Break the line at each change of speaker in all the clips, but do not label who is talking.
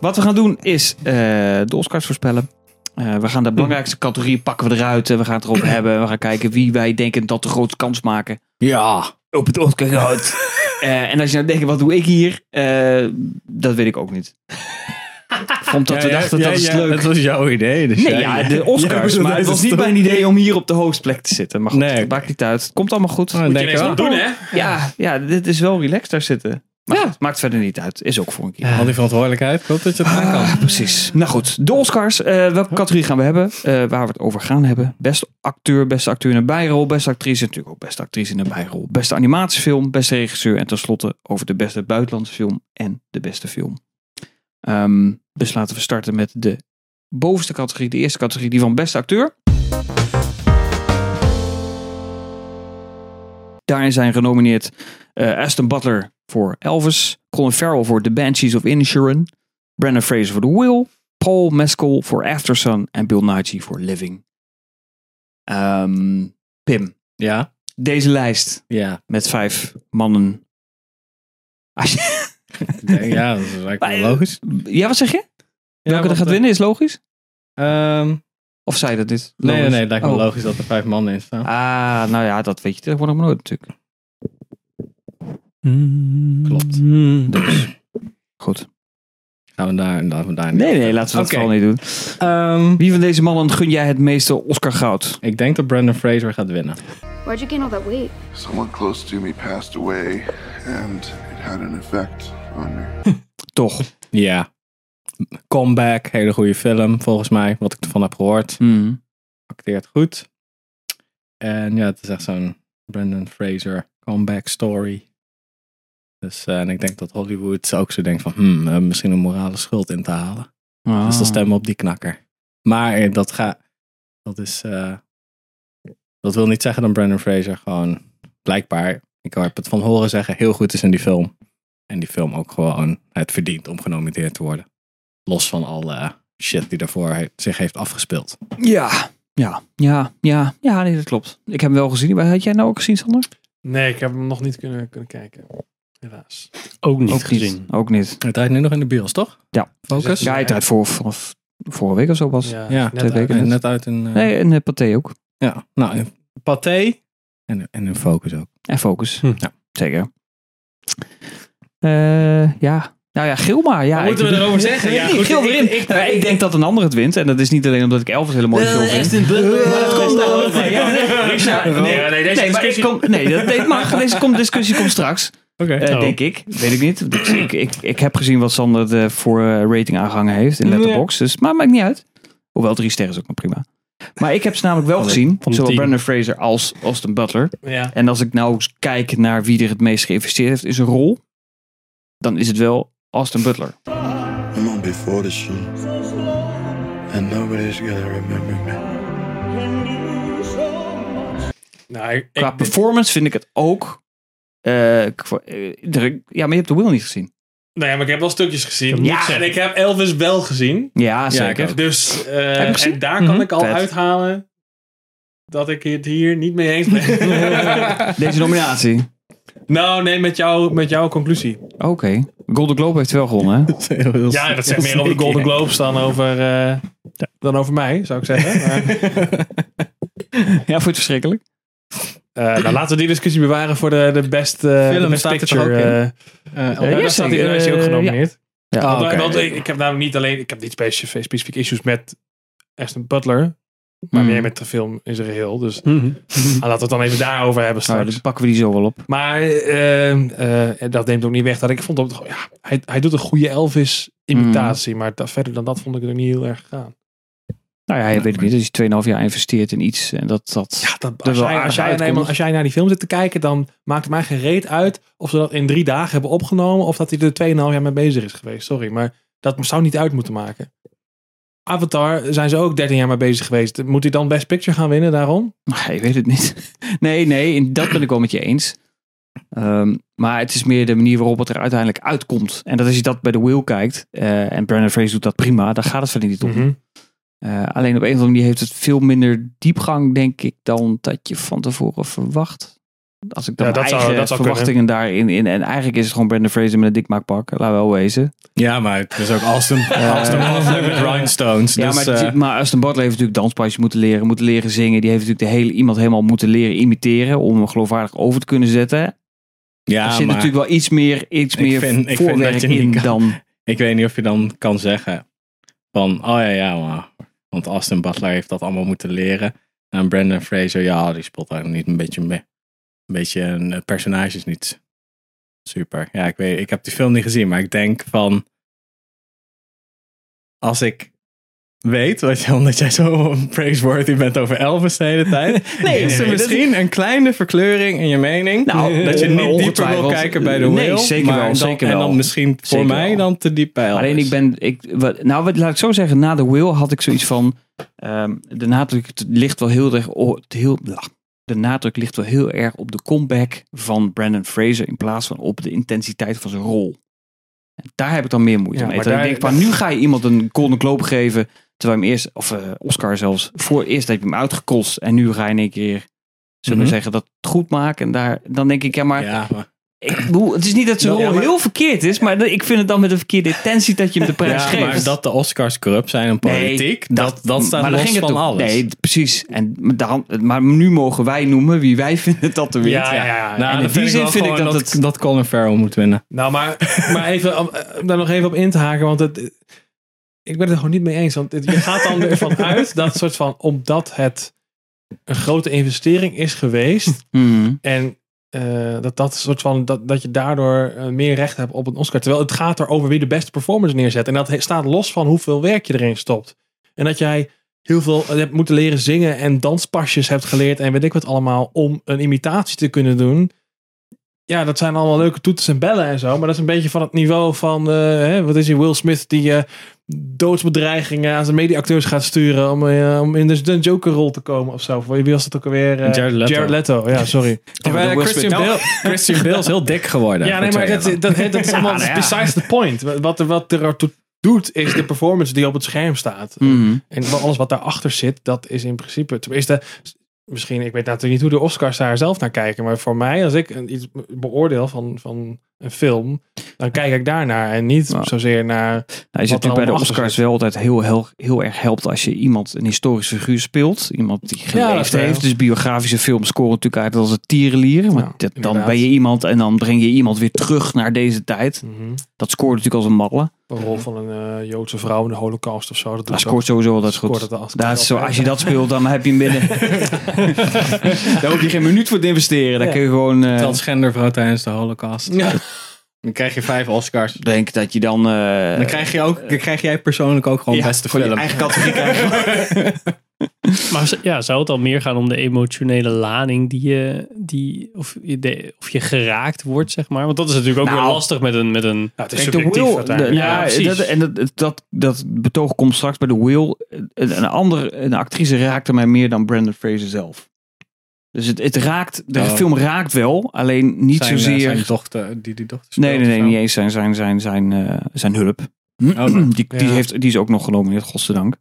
Wat we gaan doen is eh, de Oscars voorspellen. Eh, we gaan de belangrijkste categorieën pakken we eruit. eh, We gaan het erop hebben. We gaan kijken wie wij denken dat de grootste kans maken.
Ja.
Op het Oscar
Oh,
en als je nou denkt, wat doe ik hier? Eh, dat weet ik ook niet. Omdat we dachten, dat is leuk.
Dat was jouw idee. Dus
Nee,
jij-
ja,
jij-
de
jij
Oscars.
bedoelt
maar het
deze
was niet
toch-
mijn idee om hier op de hoofdplek te zitten. Maar goed,
Nee.
het maakt niet uit. Het komt allemaal goed.
Oh, dan denk ik wel.
doen, hè?
Ja, ja, dit is wel relaxed daar zitten. Maar
Ja.
goed, maakt verder niet uit. Is ook voor een keer.
Al die verantwoordelijkheid. Ik hoop dat je het aan kan.
Ah, precies. Nou goed, de Oscars. Eh, welke categorie gaan we hebben? Eh, waar we het over gaan hebben. Beste acteur, beste acteur in een bijrol. Beste actrice, natuurlijk ook beste actrice in een bijrol. Beste animatiefilm, beste regisseur. En tenslotte over de beste buitenlandse film en de beste film. Ehm, dus laten we starten met de bovenste categorie. De eerste categorie, die van beste acteur. Daarin zijn genomineerd eh, Aston Butler voor Elvis. Colin Farrell voor The Banshees of Inisherin. Brandon Fraser voor The Will, Paul Mescal voor Aftersun en Bill Nighy voor Living. Ehm, Pim,
Ja.
deze lijst
Ja.
met vijf mannen. Als je-
Ja, dat is eigenlijk wel logisch.
ja, wat zeg je? Welke er
want,
gaat
eh,
winnen is logisch?
ehm,
Of zei dat dit?
nee, nee,
Logisch.
nee. Het lijkt me
Oh.
logisch dat er vijf mannen in staan.
Ah, nou ja, dat weet je tegenwoordig maar nooit natuurlijk. Mm.
Klopt.
Dus, goed.
Gaan we daar, laten we daar niet
Nee,
op
nee, laten we dat
Oké.
vooral niet doen.
Ehm,
Wie van deze mannen gun jij het meeste Oscar goud?
ik denk dat Brandon Fraser gaat winnen.
Where'd you gain all that weight?
Someone close to me passed away, and it had an effect on me.
Toch?
Ja. Comeback, hele goede film volgens mij, wat ik ervan heb gehoord.
Mhm.
Acteert goed. En ja, het is echt zo'n Brandon Fraser comeback story. Dus eh, en ik denk dat Hollywood ook zo denkt van, hmm, we hebben misschien een morale schuld in te halen. Dus dan
Ah.
stemmen we op die knakker. Maar eh, dat gaat, dat is, eh, dat wil niet zeggen dat Brandon Fraser gewoon blijkbaar, ik heb het van horen zeggen, heel goed is in die film. En die film ook gewoon het verdient om genomineerd te worden. Los van alle eh, shit die daarvoor he- zich heeft afgespeeld.
Ja, ja, ja, ja, ja, nee, dat klopt. Ik heb hem wel gezien. Maar had jij nou ook gezien, Sander?
Nee, ik heb hem nog niet kunnen, kunnen kijken. Helaas.
Ook niet
ook
gezien.
Niet. Ook niet.
Hij draait nu nog in de bios, toch?
Ja.
Focus?
Ja, hij draait voor, vanaf vorige week of zo was.
Ja,
ja,
net
dat weet ik
uit.
niet.
En net uit een... eh,
Nee, en eh, Pathé ook.
Ja, nou, een Pathé en, en een Focus ook.
En Focus.
Hm.
Ja, zeker. Eh, ja. Nou ja, Gil maar. Ja,
Wat moeten
ik-
we erover zeggen? Ja,
Nee,
goed,
Gil
ik-
erin. Nou,
ik-
Ik, denk dat een ander het wint. En dat is niet alleen omdat ik Elvis een hele mooie film vind. Maar dat komt dan. Nee, ja, nee, Richard,
Nee,
nee,
nee, deze
nee, maar ik
discussie-
kom- nee, dat nee, het mag. Deze kom- discussie komt straks.
Oké.
Eh,
Oh.
Denk ik. Weet ik niet. Want Ik, ik, ik, ik heb gezien wat Sander de, voor eh, rating aangehangen heeft in Letterboxd. Dus, maar maakt niet uit. Hoewel drie sterren is ook nog prima. Maar ik heb ze namelijk wel
Van de-
gezien.
van de
zowel
tien.
Brandon Fraser als Austin Butler.
Ja.
En als ik nou eens kijk naar wie er het meest geïnvesteerd heeft in zijn rol. Dan is het wel Austin Butler.
I'm on before the show. And nobody's gonna remember me.
Nou, ik,
Qua
ik-
performance vind ik het ook. eh, qua- eh, er- ja, maar je hebt de Will niet gezien.
nou ja, maar ik heb wel stukjes gezien.
Dat moet ik
Ja, en
zeggen.
ik heb Elvis wel gezien.
Ja,
ik
zeker.
ook.
Dus eh,
je gezien?
en daar
Mhm.
kan ik al
Vet.
uithalen dat ik het hier niet mee eens ben.
Deze nominatie.
nou, nee, met, jou, met jouw conclusie.
Oké. Golden Globe heeft wel gewonnen, hè?
Ja, dat zegt meer over de Golden Globes dan over, eh, dan over mij, zou ik zeggen. Maar,
Ja, vond je het verschrikkelijk?
eh, nou, laten we die discussie bewaren voor de, de best, eh,
Film
de best
staat er toch
picture.
ook in?
eh,
Eh,
ja, Ah,
ja,
daar staat hij,
zeker.
daar is hij ook
Eh,
genomineerd.
ja.
Want,
oké.
want ik, ik heb namelijk niet alleen, ik heb niet specif- specifiek issues met Aston Butler, maar
Mm.
meer met de film in zijn geheel. Dus ah, laten we het dan even daarover hebben
Nou,
straks.
dan pakken we die zo wel op.
Maar eh, eh, dat neemt ook niet weg dat ik vond dat ja, hij, hij doet een goede Elvis imitatie, maar da- verder dan dat vond ik het ook niet heel erg gaan.
Nou ja, je weet het niet. Als je 2,5 jaar investeert in iets en dat dat.
Ja, dat,
Dat
als,
wel
jij, als,
aardig
jij,
uitkomt.
nee, maar als jij naar die film zit te kijken, dan maakt het mij geen reet uit of ze dat in drie dagen hebben opgenomen of dat hij er 2,5 jaar mee bezig is geweest. Sorry, maar dat zou niet uit moeten maken. Avatar zijn ze ook 13 jaar mee bezig geweest. Moet hij dan Best Picture gaan winnen daarom?
Nee, je weet het niet. Nee, nee, in dat ben ik wel met je eens. Ehm, maar het is meer de manier waarop het er uiteindelijk uitkomt. En dat als je dat bij de Will kijkt, eh, en Brandon Fraser doet dat prima, dan gaat het verder niet om.
Mhm.
Eh, alleen op een of andere manier heeft het veel minder diepgang, denk ik, dan dat je van tevoren verwacht. Als ik dan
Ja, dat
mijn
zou-
eigen
dat zou
verwachtingen daarin in. En eigenlijk is het gewoon Brandon Fraser met een dikmaakpak. Laat wel wezen.
Ja, maar het is ook Austin, Austin Butler met rhinestones.
Ja,
dus,
maar,
eh,
die- maar Aston Butler heeft natuurlijk danspasjes moeten leren, moeten leren zingen. Die heeft natuurlijk de hele, iemand helemaal moeten leren imiteren om hem geloofwaardig over te kunnen zetten.
ja,
er zit
maar
natuurlijk wel iets meer, iets
Ik
meer
vind- ik vind
voorwerk
dat je
in
niet kan-
dan...
ik weet niet of je dan kan zeggen van, oh ja, ja, maar, want Austin Butler heeft dat allemaal moeten leren. En Brandon Fraser, ja, die spot daar niet een beetje mee. Een beetje, een het personage is niet super. Ja, ik weet, ik heb die film niet gezien, maar ik denk van, als ik weet, wat je, omdat jij zo praiseworthy bent over Elvis de hele tijd,
Nee,
is er
nee, dat-
misschien een kleine verkleuring in je mening.
Nou,
dat je niet dieper wil
ongetwijfeld.
kijken bij de
Nee,
whale,
zeker
maar
wel,
dan,
zeker
en
wel.
dan misschien voor
Zeker
mij
wel.
dan te diep bij Elvis.
Alleen ik ben, ik, wat- nou wat, laat ik zo zeggen, na de Will had ik zoiets van, ehm, de nadruk het ligt wel heel erg, o- het heel, blah. de nadruk ligt wel heel erg op de comeback van Brandon Fraser in plaats van op de intensiteit van zijn rol. En daar heb ik dan meer moeite
Ja,
mee.
maar
Terwijl
daar-
ik denk van, nu ga je iemand een Golden Globe geven, terwijl je hem eerst, of eh, Oscar zelfs, voor eerst heb je hem uitgekost en nu ga je in één keer, zullen we
Mhm.
zeggen, dat goed maken. En daar, dan denk ik, ja maar,
ja, maar,
ik bedoel, het is niet dat zijn
Ja,
rol
maar-
heel verkeerd is, maar ik vind het dan met een verkeerde intentie dat je hem de prijs
ja,
geeft.
maar dat de Oscars corrupt zijn en politiek, dat, dat staat
maar daar
los
ging het
van
om.
alles. Nou,
Nee, precies. En dan, maar nu mogen wij noemen wie wij vinden dat er wint.
Ja, ja, ja.
Nou,
en in
dat
die zin
wel
vind ik
gewoon
dat het-
dat Colin Farrell moet winnen.
Nou, maar, maar even, om om daar nog even op in te haken, want het, ik ben het er gewoon niet mee eens. Want het- je gaat dan ervan uit dat soort van, omdat het een grote investering is geweest
Hmm.
en eh, dat, dat, soort van, dat, dat je daardoor eh, meer recht hebt op een Oscar. Terwijl het gaat erover wie de beste performance neerzet. En dat he- staat los van hoeveel werk je erin stopt. En dat jij heel veel eh, hebt moeten leren zingen en danspasjes hebt geleerd en weet ik wat allemaal om een imitatie te kunnen doen. Ja, dat zijn allemaal leuke toeters en bellen en zo. Maar dat is een beetje van het niveau van, eh, hè, wat is die Will Smith die eh doodsbedreigingen aan zijn mediaacteurs gaat sturen om, eh, om in de, de Joker-rol te komen of zo. Of Wie was dat ook alweer? eh,
Jared Leto.
Jared Leto, ja, sorry.
maar
Terwijl
Will
Christian,
Smith-
Bale, Christian Bale is heel dik geworden.
Ja, nee,
voor
maar
twee
dat,
jaar lang.
dat, dat is
nou
allemaal besides the point. Wat, er- wat er toe doet, is de performance die op het scherm staat.
Hmm.
En wel alles wat daarachter zit, dat is in principe... Tenminste, misschien, ik weet natuurlijk niet hoe de Oscars daar zelf naar kijken. Maar voor mij, als ik een- iets beoordeel van, van een film, dan kijk ik daarnaar. En niet
Ja.
zozeer naar...
Nou, je
Wat
zit
er
natuurlijk bij de
allemaal achter
Oscars
zit.
wel altijd heel, heel, heel erg helpt als je iemand een historische figuur speelt. Iemand die
dat
geleefd
wel.
heeft. Dus biografische films scoren natuurlijk uit als het tierenlier. Want
Ja,
dat- dan
inderdaad.
ben je iemand en dan breng je iemand weer terug naar deze tijd. Dat scoort natuurlijk als een malle.
mhm, De rol van een eh, Joodse vrouw in de holocaust of zo. Dat doet
Dat scoort sowieso altijd
scoort
goed.
het als-
Daar is zo, als je dat speelt, dan heb je hem binnen. Daar hoef je geen minuut voor te investeren. Daar
Ja.
kun je gewoon. eh,
Transgender vrouw tijdens de holocaust.
Ja.
Dan krijg je vijf Oscars.
denk dat je dan. eh,
Dan krijg, je ook, dan krijg jij persoonlijk ook gewoon
ja,
beste
voor je
film.
eigen categorie krijgen.
Maar z- ja, zou het dan meer gaan om de emotionele lading die je, die, of, je de- of je geraakt wordt, zeg maar? Want dat is natuurlijk ook
Nou.
weer lastig met een, met een...
Ja, het is
Kijk, de
subjectief
Will, de-
uiteindelijk.
ja,
Ja,
dat,
precies.
en dat, dat, dat betoog komt straks bij de Will. Een, een andere een actrice raakte mij meer dan Brandon Fraser zelf. Dus het, het raakt, de
Oh.
film raakt wel, alleen niet
Zijn, eh,
zozeer.
Zijn dochter, die die dochter speelt
nee, nee, nee,
of zo.
niet eens zijn, zijn, zijn, zijn, eh, zijn hulp.
Oh,
die, die,
Ja.
heeft, die is ook nog genomineerd, godzijdank.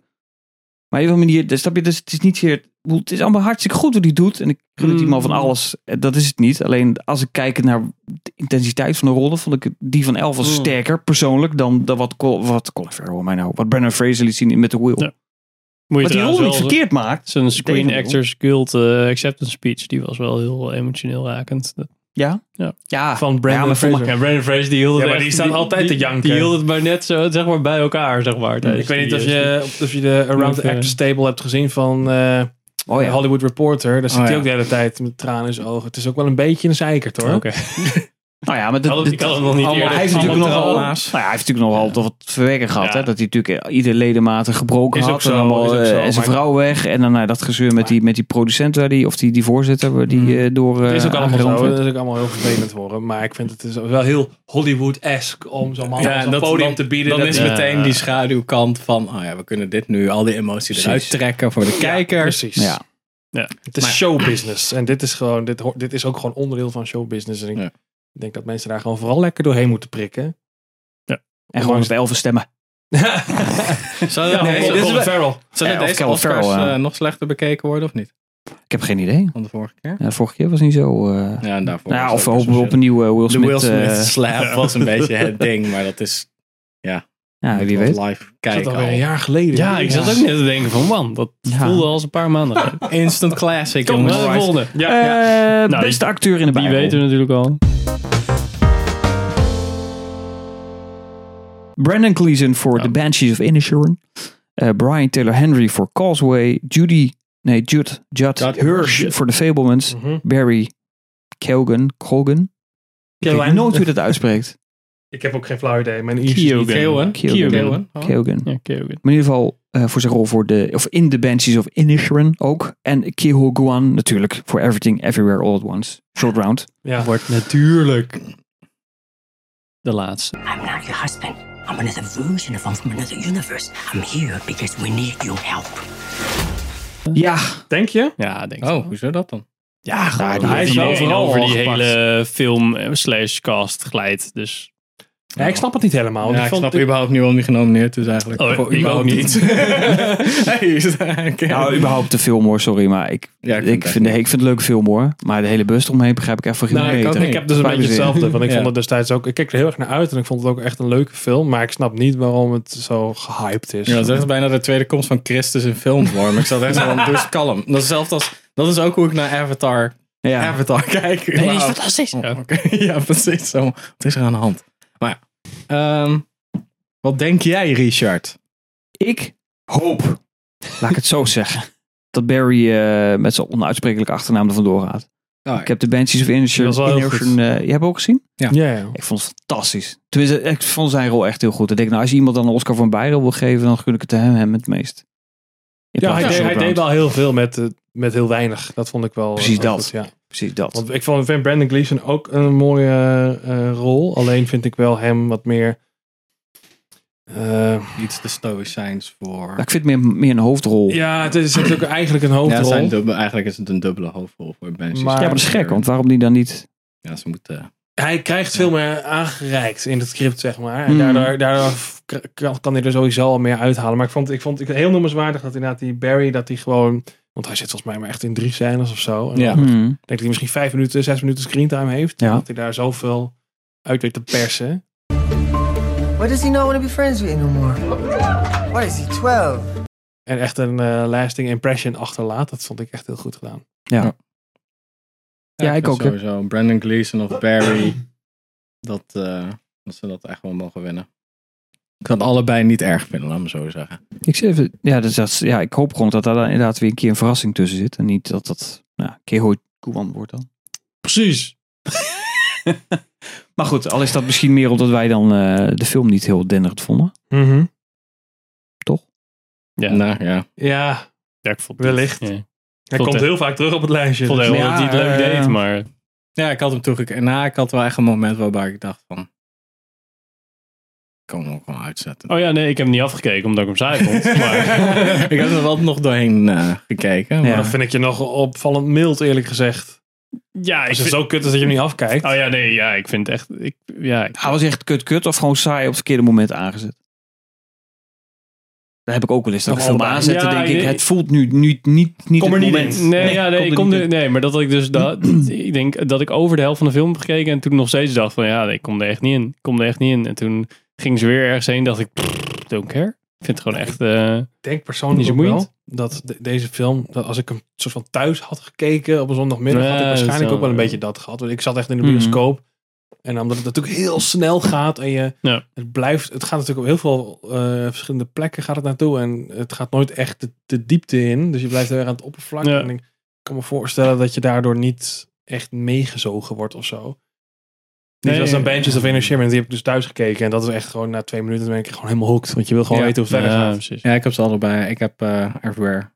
Maar op een manier, dus, snap je, dus het is niet zeer... ik bedoel, Het is allemaal hartstikke goed wat hij doet. En ik gun het
Mm.
hem
Hm.
al van alles. Eh, Dat is het niet. Alleen als ik kijk naar de intensiteit van de rollen, vond ik het- die van Elvis
Hm.
Mm.
sterker persoonlijk dan, dan wat, Col- wat Colin Farrell mij nou, wat Brandon Fraser liet zien in met de Will.
Ja. Moet je
Wat die
trouwens
rol niet
wel-
verkeerd maakt.
Zijn Screen
Tegendeel.
Actors Guild eh, Acceptance Speech, die was wel heel emotioneel rakend. Dat-
Ja.
Ja.
ja.
Ah, Van
Ja, maar
Brandon
voor mij-
Fraser.
Ja, Brandon Fraser die hield het
Ja, maar
echt-
die staat altijd te
die-
janken.
Die hield het maar net zo, zeg maar, bij elkaar, zeg maar.
Ik weet niet of
eh,
je, of je de Around
Of,
the
eh,
Actors Table hebt gezien van eh,
Oh ja.
Hollywood Reporter. Daar zit
Oh,
hij
ja.
ook de hele tijd met tranen in zijn ogen. Het is ook wel een beetje een zeikert hoor.
Oké.
Nou ja, maar dat,
Ik
dat-
had het nog niet
Maar
eerder.
hij heeft
allemaal
natuurlijk nogal, nou
trauma's.
ja, hij heeft natuurlijk nogal wat verwerken gehad.
Ja.
Hè? Dat hij natuurlijk ieder ledematen gebroken
Is ook
had.
zo,
en, allemaal,
is ook
eh,
zo,
en zijn
maar-
vrouw weg. En dan eh, dat gezeur met die, met die producent waar die, of die, die voorzitter waar die eh, door
Dat
eh
is ook allemaal
aangerand
zo.
werd.
Dat is ook allemaal heel vervelend voor hem. Maar ik vind het is wel heel Hollywood-esque om zo'n man op zo'n
dat-
podium
dan-
te bieden.
Dan
dat
is
hij-
meteen die schaduwkant van, oh ja, we kunnen dit nu, al die emotie eruit trekken voor de
Ja,
kijker.
precies.
Ja.
Het is
Maar-
showbusiness. En dit is, gewoon, dit, ho- dit is ook gewoon onderdeel van showbusiness. En ik
Ja.
denk dat mensen daar gewoon vooral lekker doorheen moeten prikken.
En gewoon met elfen stemmen.
Zou dat,
Ja,
nee,
nee,
dit
zou-
is
Colin
wel-
Farrell.
zou dat
Ja, of
deze
Colin
Oscars
Farrell, ja.
eh, nog slechter bekeken worden of niet?
Ik heb geen idee.
van de vorige keer.
Ja, de vorige keer was niet zo. eh, nou
Ja, en daarvoor.
ja,
was
of
ook
we
best
hopen
wel
op een nieuwe Will
shit.
Smith.
De Will Smith
eh,
slap was een beetje het ding, maar dat is
ja, wie
dat
weet.
live
Dat
kijken.
alweer een
al.
jaar geleden.
Ja, ik zat ook net te denken van man, dat
Ja.
voelde als een paar maanden. geleden.
Instant classic.
Kom,
jongens.
naar de volgende.
Eh,
Nou,
beste acteur in de
Die
bijrol.
weten we natuurlijk al.
Brandon Gleeson voor
Ja.
The Banshees of Inisherin. Eh, Brian Taylor Henry voor Causeway. Judy, nee, Judd, Judd
Judd
Hirsch voor The Fablemans.
Mhm.
Barry Keoghan, Colgan. Ik weet
Keoghan.
nooit hoe je dat uitspreekt.
Ik heb ook geen flauw idee. Mijn Iers is niet-
Keoghan.
Keoghan.
Keoghan.
Keoghan. Oh.
Keoghan.
Ja, Keoghan.
Maar in ieder geval eh, voor zijn rol voor de, of in The Banshees of Inisherin ook. En Keho Guan natuurlijk voor Everything Everywhere All at Once. Short round.
Ja.
Wordt natuurlijk de laatste.
I'm not your husband. I'm another version of him from another universe. I'm here because we need your help.
Ja,
Denk je?
Ja, denk ik.
Oh, hoezo dat dan?
Ja,
gewoon, die
hij
heeft
is
hem
wel
overal
over die
gepakt.
hele film eh, slash cast glijdt. Dus
Ja, ik snap het niet helemaal. want
Ja, ik
ik vond,
snap überhaupt niet waarom die genomineerd is eigenlijk.
Oh,
Voor
ik
überhaupt
ook
niet. hey, is het eigenlijk-
nou überhaupt de film hoor, sorry. Maar ik, ik,
Ja, het
vind,
echt
nee, ik vind het leuk film hoor. Maar de hele bus omheen begrijp ik even geen
Nou, ik
meter.
ook niet.
Ik heb dus een
Fijn
beetje
zin.
hetzelfde. Want ik
Ja.
vond het destijds ook. Ik keek er heel erg naar uit en ik vond het ook echt een leuke film. Maar ik snap niet waarom het zo gehyped is.
Ja, dat is echt bijna de tweede komst van Christus in filmvorm. Ik zat echt zo van, dus kalm. Dat is hetzelfde als... Dat is ook hoe ik naar Avatar,
Ja.
Avatar kijk.
Nee, is
überhaupt.
fantastisch.
Oh, oké. ja, precies. Zo. Wat is er aan de hand? Maar ja. Ehm, wat denk jij, Richard?
Ik hoop, laat ik het zo zeggen, dat Barry eh, met zijn onuitsprekelijke achternaam er vandoor gaat.
Nou,
Ik heb de Banshees of
Dat is wel
Inisherin.
heel
Inisherin, eh, je hebt ook gezien?
Ja, ja.
Ik vond het fantastisch. Tenminste, ik vond zijn rol echt heel goed. Ik denk, nou, als je iemand dan een Oscar voor een bijrol wil geven, dan gun ik het hem, hem het meest. In
ja
plaats
hij,
van
deed, hij
Short
deed
Round.
wel heel veel met, eh, met heel weinig. Dat vond ik wel.
Precies
wel
dat.
ja.
Precies dat.
Want ik vond, vind Brandon Gleeson ook een mooie eh, rol. Alleen vind ik wel hem wat meer. eh,
Iets te stoïcijns voor...
Maar ik vind het meer, meer een hoofdrol. Ja,
ja, het is natuurlijk eigenlijk een
Ja,
hoofdrol.
zijn dubbel, eigenlijk is het een dubbele hoofdrol voor Benji.
Maar-
maar dat is gek, want waarom die dan niet...
Ja, ze moeten...
hij krijgt veel meer aangereikt in het script, zeg maar. En
Hmm.
Mhm.
daardoor, daardoor f- k- kan, kan hij er sowieso al meer uithalen. Maar ik vond, ik vond het heel noemenswaardig dat inderdaad die Barry, dat hij gewoon... Want hij zit volgens mij maar echt in drie scènes of zo. En
Ja.
dan denk
Hmm.
ik dat hij misschien vijf minuten, zes minuten screentime heeft.
Ja.
Dat hij daar zoveel uit weet te persen.
Why does he not want to be friends with you no more? Why is he 12?
En echt een eh, lasting impression achterlaat. Dat vond ik echt heel goed gedaan.
Ja, ik
vind
ook, hè.
Sowieso Brandon Gleeson of Barry. Dat, eh, dat ze dat echt wel mogen winnen. Ik kan het allebei niet erg vinden, laat me zo zeggen.
Ik, zeg even, ja, dus dat, is- ja, ik hoop gewoon dat daar dan inderdaad weer een keer een verrassing tussen zit. En niet dat dat nou, Keho Kuwan wordt dan.
Precies.
Maar goed, al is dat misschien meer omdat wij dan eh, de film niet heel denderend vonden.
Mhm.
Ja.
Nou ja.
Ja,
Ja, ik vond
Wellicht.
Ja.
hij
Vond
komt
het-
heel vaak terug op het lijstje.
Ik vond
Dus-
wel
Ja,
dat hij het
eh,
leuk deed, maar
ja, ik had hem toegekeken. Nou, ik had wel echt een moment waarbij ik dacht van... Ik kan hem ook wel uitzetten.
Oh ja, nee, ik heb hem niet afgekeken omdat ik hem saai vond. Maar
ik heb er wel nog doorheen eh, gekeken. Maar
Maar dat vind ik je nog opvallend mild, eerlijk gezegd.
ja, ik
Als het
vind...
zo kut is dat je hem niet afkijkt.
Oh ja, nee, ja, ik vind het echt... Ik, ja, ik-
Hij was echt kut-kut of gewoon saai op het verkeerde moment aangezet. Daar heb ik ook wel eens. Dat ik
Nog
film
allebei.
aanzetten,
Ja,
denk
ik
ik.
denk-
Het voelt nu niet, niet, niet
Kom er
het
niet
moment.
in.
Nee, ja, nee, ik kom
niet
er-
in.
nee, maar dat ik dus dat, ik denk dat ik over de helft van de film heb gekeken en toen nog steeds dacht van ja, nee, ik kom er echt niet in, ik kom er echt niet in. En toen ging ze weer ergens heen, dacht ik, pff, don't care. Ik vind het gewoon echt. eh,
Ik denk persoonlijk
Niet zo
ook wel
boeiend.
dat de- deze film, dat als ik hem soort van thuis had gekeken op een zondagmiddag, had ik
Nee,
waarschijnlijk
zo.
ook wel een beetje dat gehad. Want ik zat echt in de
Mhm.
bioscoop. En omdat het natuurlijk heel snel gaat en je,
Ja.
het blijft, het gaat natuurlijk op heel veel eh, verschillende plekken gaat het naartoe en het gaat nooit echt de, de diepte in. Dus je blijft heel erg aan het oppervlak.
Ja.
En ik kan me voorstellen dat je daardoor niet echt meegezogen wordt of zo. Niet
Nee,
als
ja.
een bandjes of Inner Shimmer, die heb ik dus thuis gekeken. En dat is echt gewoon na twee minuten dan ben ik gewoon helemaal hooked. Want je wil gewoon
Ja.
weten hoe het verder
ja,
gaat.
precies.
Ja, ik heb ze allebei. Ik heb eh, Everywhere.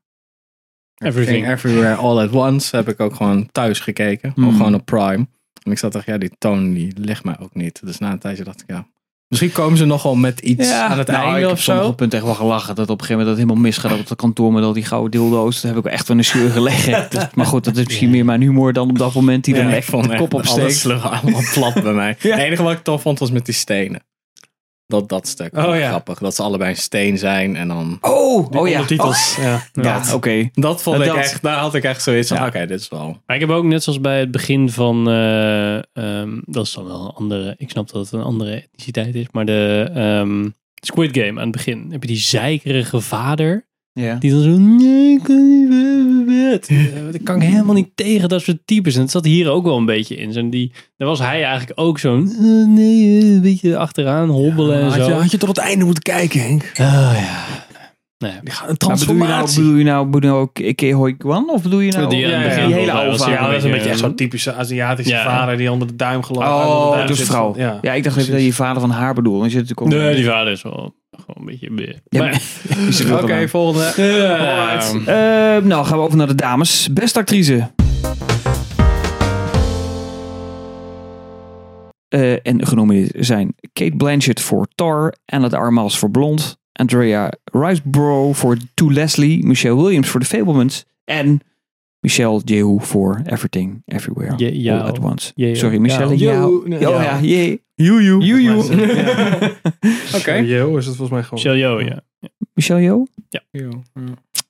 Everything.
Everywhere All at Once heb ik ook gewoon thuis gekeken.
Hmm.
Of gewoon op Prime. En ik zat echt, ja, die toon die ligt mij ook niet. Dus na een tijdje dacht ik, ja. Misschien komen ze nogal met iets aan het
Nou, ik
einde
heb
of
soms op
zo.
een punt echt wel gelachen. Dat op een gegeven moment dat helemaal misgaat op het kantoor met al die gouden dildo's. Daar heb ik wel echt wel een scheur gelegen. Dus- maar goed, dat is misschien meer mijn humor dan op dat moment die dan
Ja,
echt de
echt
kop opsteekt.
Alles lag allemaal plat bij mij. Het enige wat ik tof vond was met die stenen. dat, dat stuk.
Oh, ja.
Grappig. Dat ze allebei een steen zijn en dan...
Oh, oh ja.
Ondertitels. Ja.
Oh, ja, oké.
Dat vond
Dat-
ik echt... Daar had ik echt zoiets van, oké, dit is wel...
Maar ik heb ook net zoals bij het begin van, eh, ehm, dat is dan wel een andere, ik snap dat het een andere etniciteit is, maar de ehm, Squid Game aan het begin heb je die zeikerige vader
Ja.
die dan zo, nee, ik kan niet meer naar bed. Eh, dat kan ik helemaal niet tegen dat soort types. En het zat hier ook wel een beetje in. Zo'n die, daar was hij eigenlijk ook zo'n, eh, nee, eh, een beetje achteraan hobbelen en
Had,
zo.
je, had je tot het einde moeten kijken, Henk.
Oh ja. Nee.
Een
Maar bedoel je nou,
transformatie.
bedoel je nou, bedoel je nou Ke- Kehoi Kwan? Of bedoel je nou
Die aan het
ja,
begin
ja, die hele
wel,
oude
was die
vader?
Ja, dat is een beetje echt
Ja.
zo'n typische Aziatische
Ja.
vader die onder de duim gelooft.
Oh, dus vrouw. Ja,
Ja.
ik dacht even dat je vader van haar bedoelde. Dan zit natuurlijk ook-
Nee, die vader is wel gewoon een beetje... bleh.
Ja,
Maar-
die zit er ook aan.
volgende.
Ehm,
Eh, nou, gaan we over naar de dames. Beste actrice. Eh, en genomineerd zijn Kate Blanchett voor Tar, Anna de Armas voor Blond, Andrea Riseborough voor To Leslie, Michelle Williams voor The Fablemans en Michelle Yeoh voor Everything, Everywhere,
Je- jou.
All at Once.
Yeoh.
Sorry, Michelle
Jou.
Yeoh.
Yeoh.
Oh ja, Yeoh.
Joejoe.
Joejoe.
Oké.
Joe is het volgens mij gewoon.
Michelle Yeoh, ja.
Michelle Yeoh.
Ja.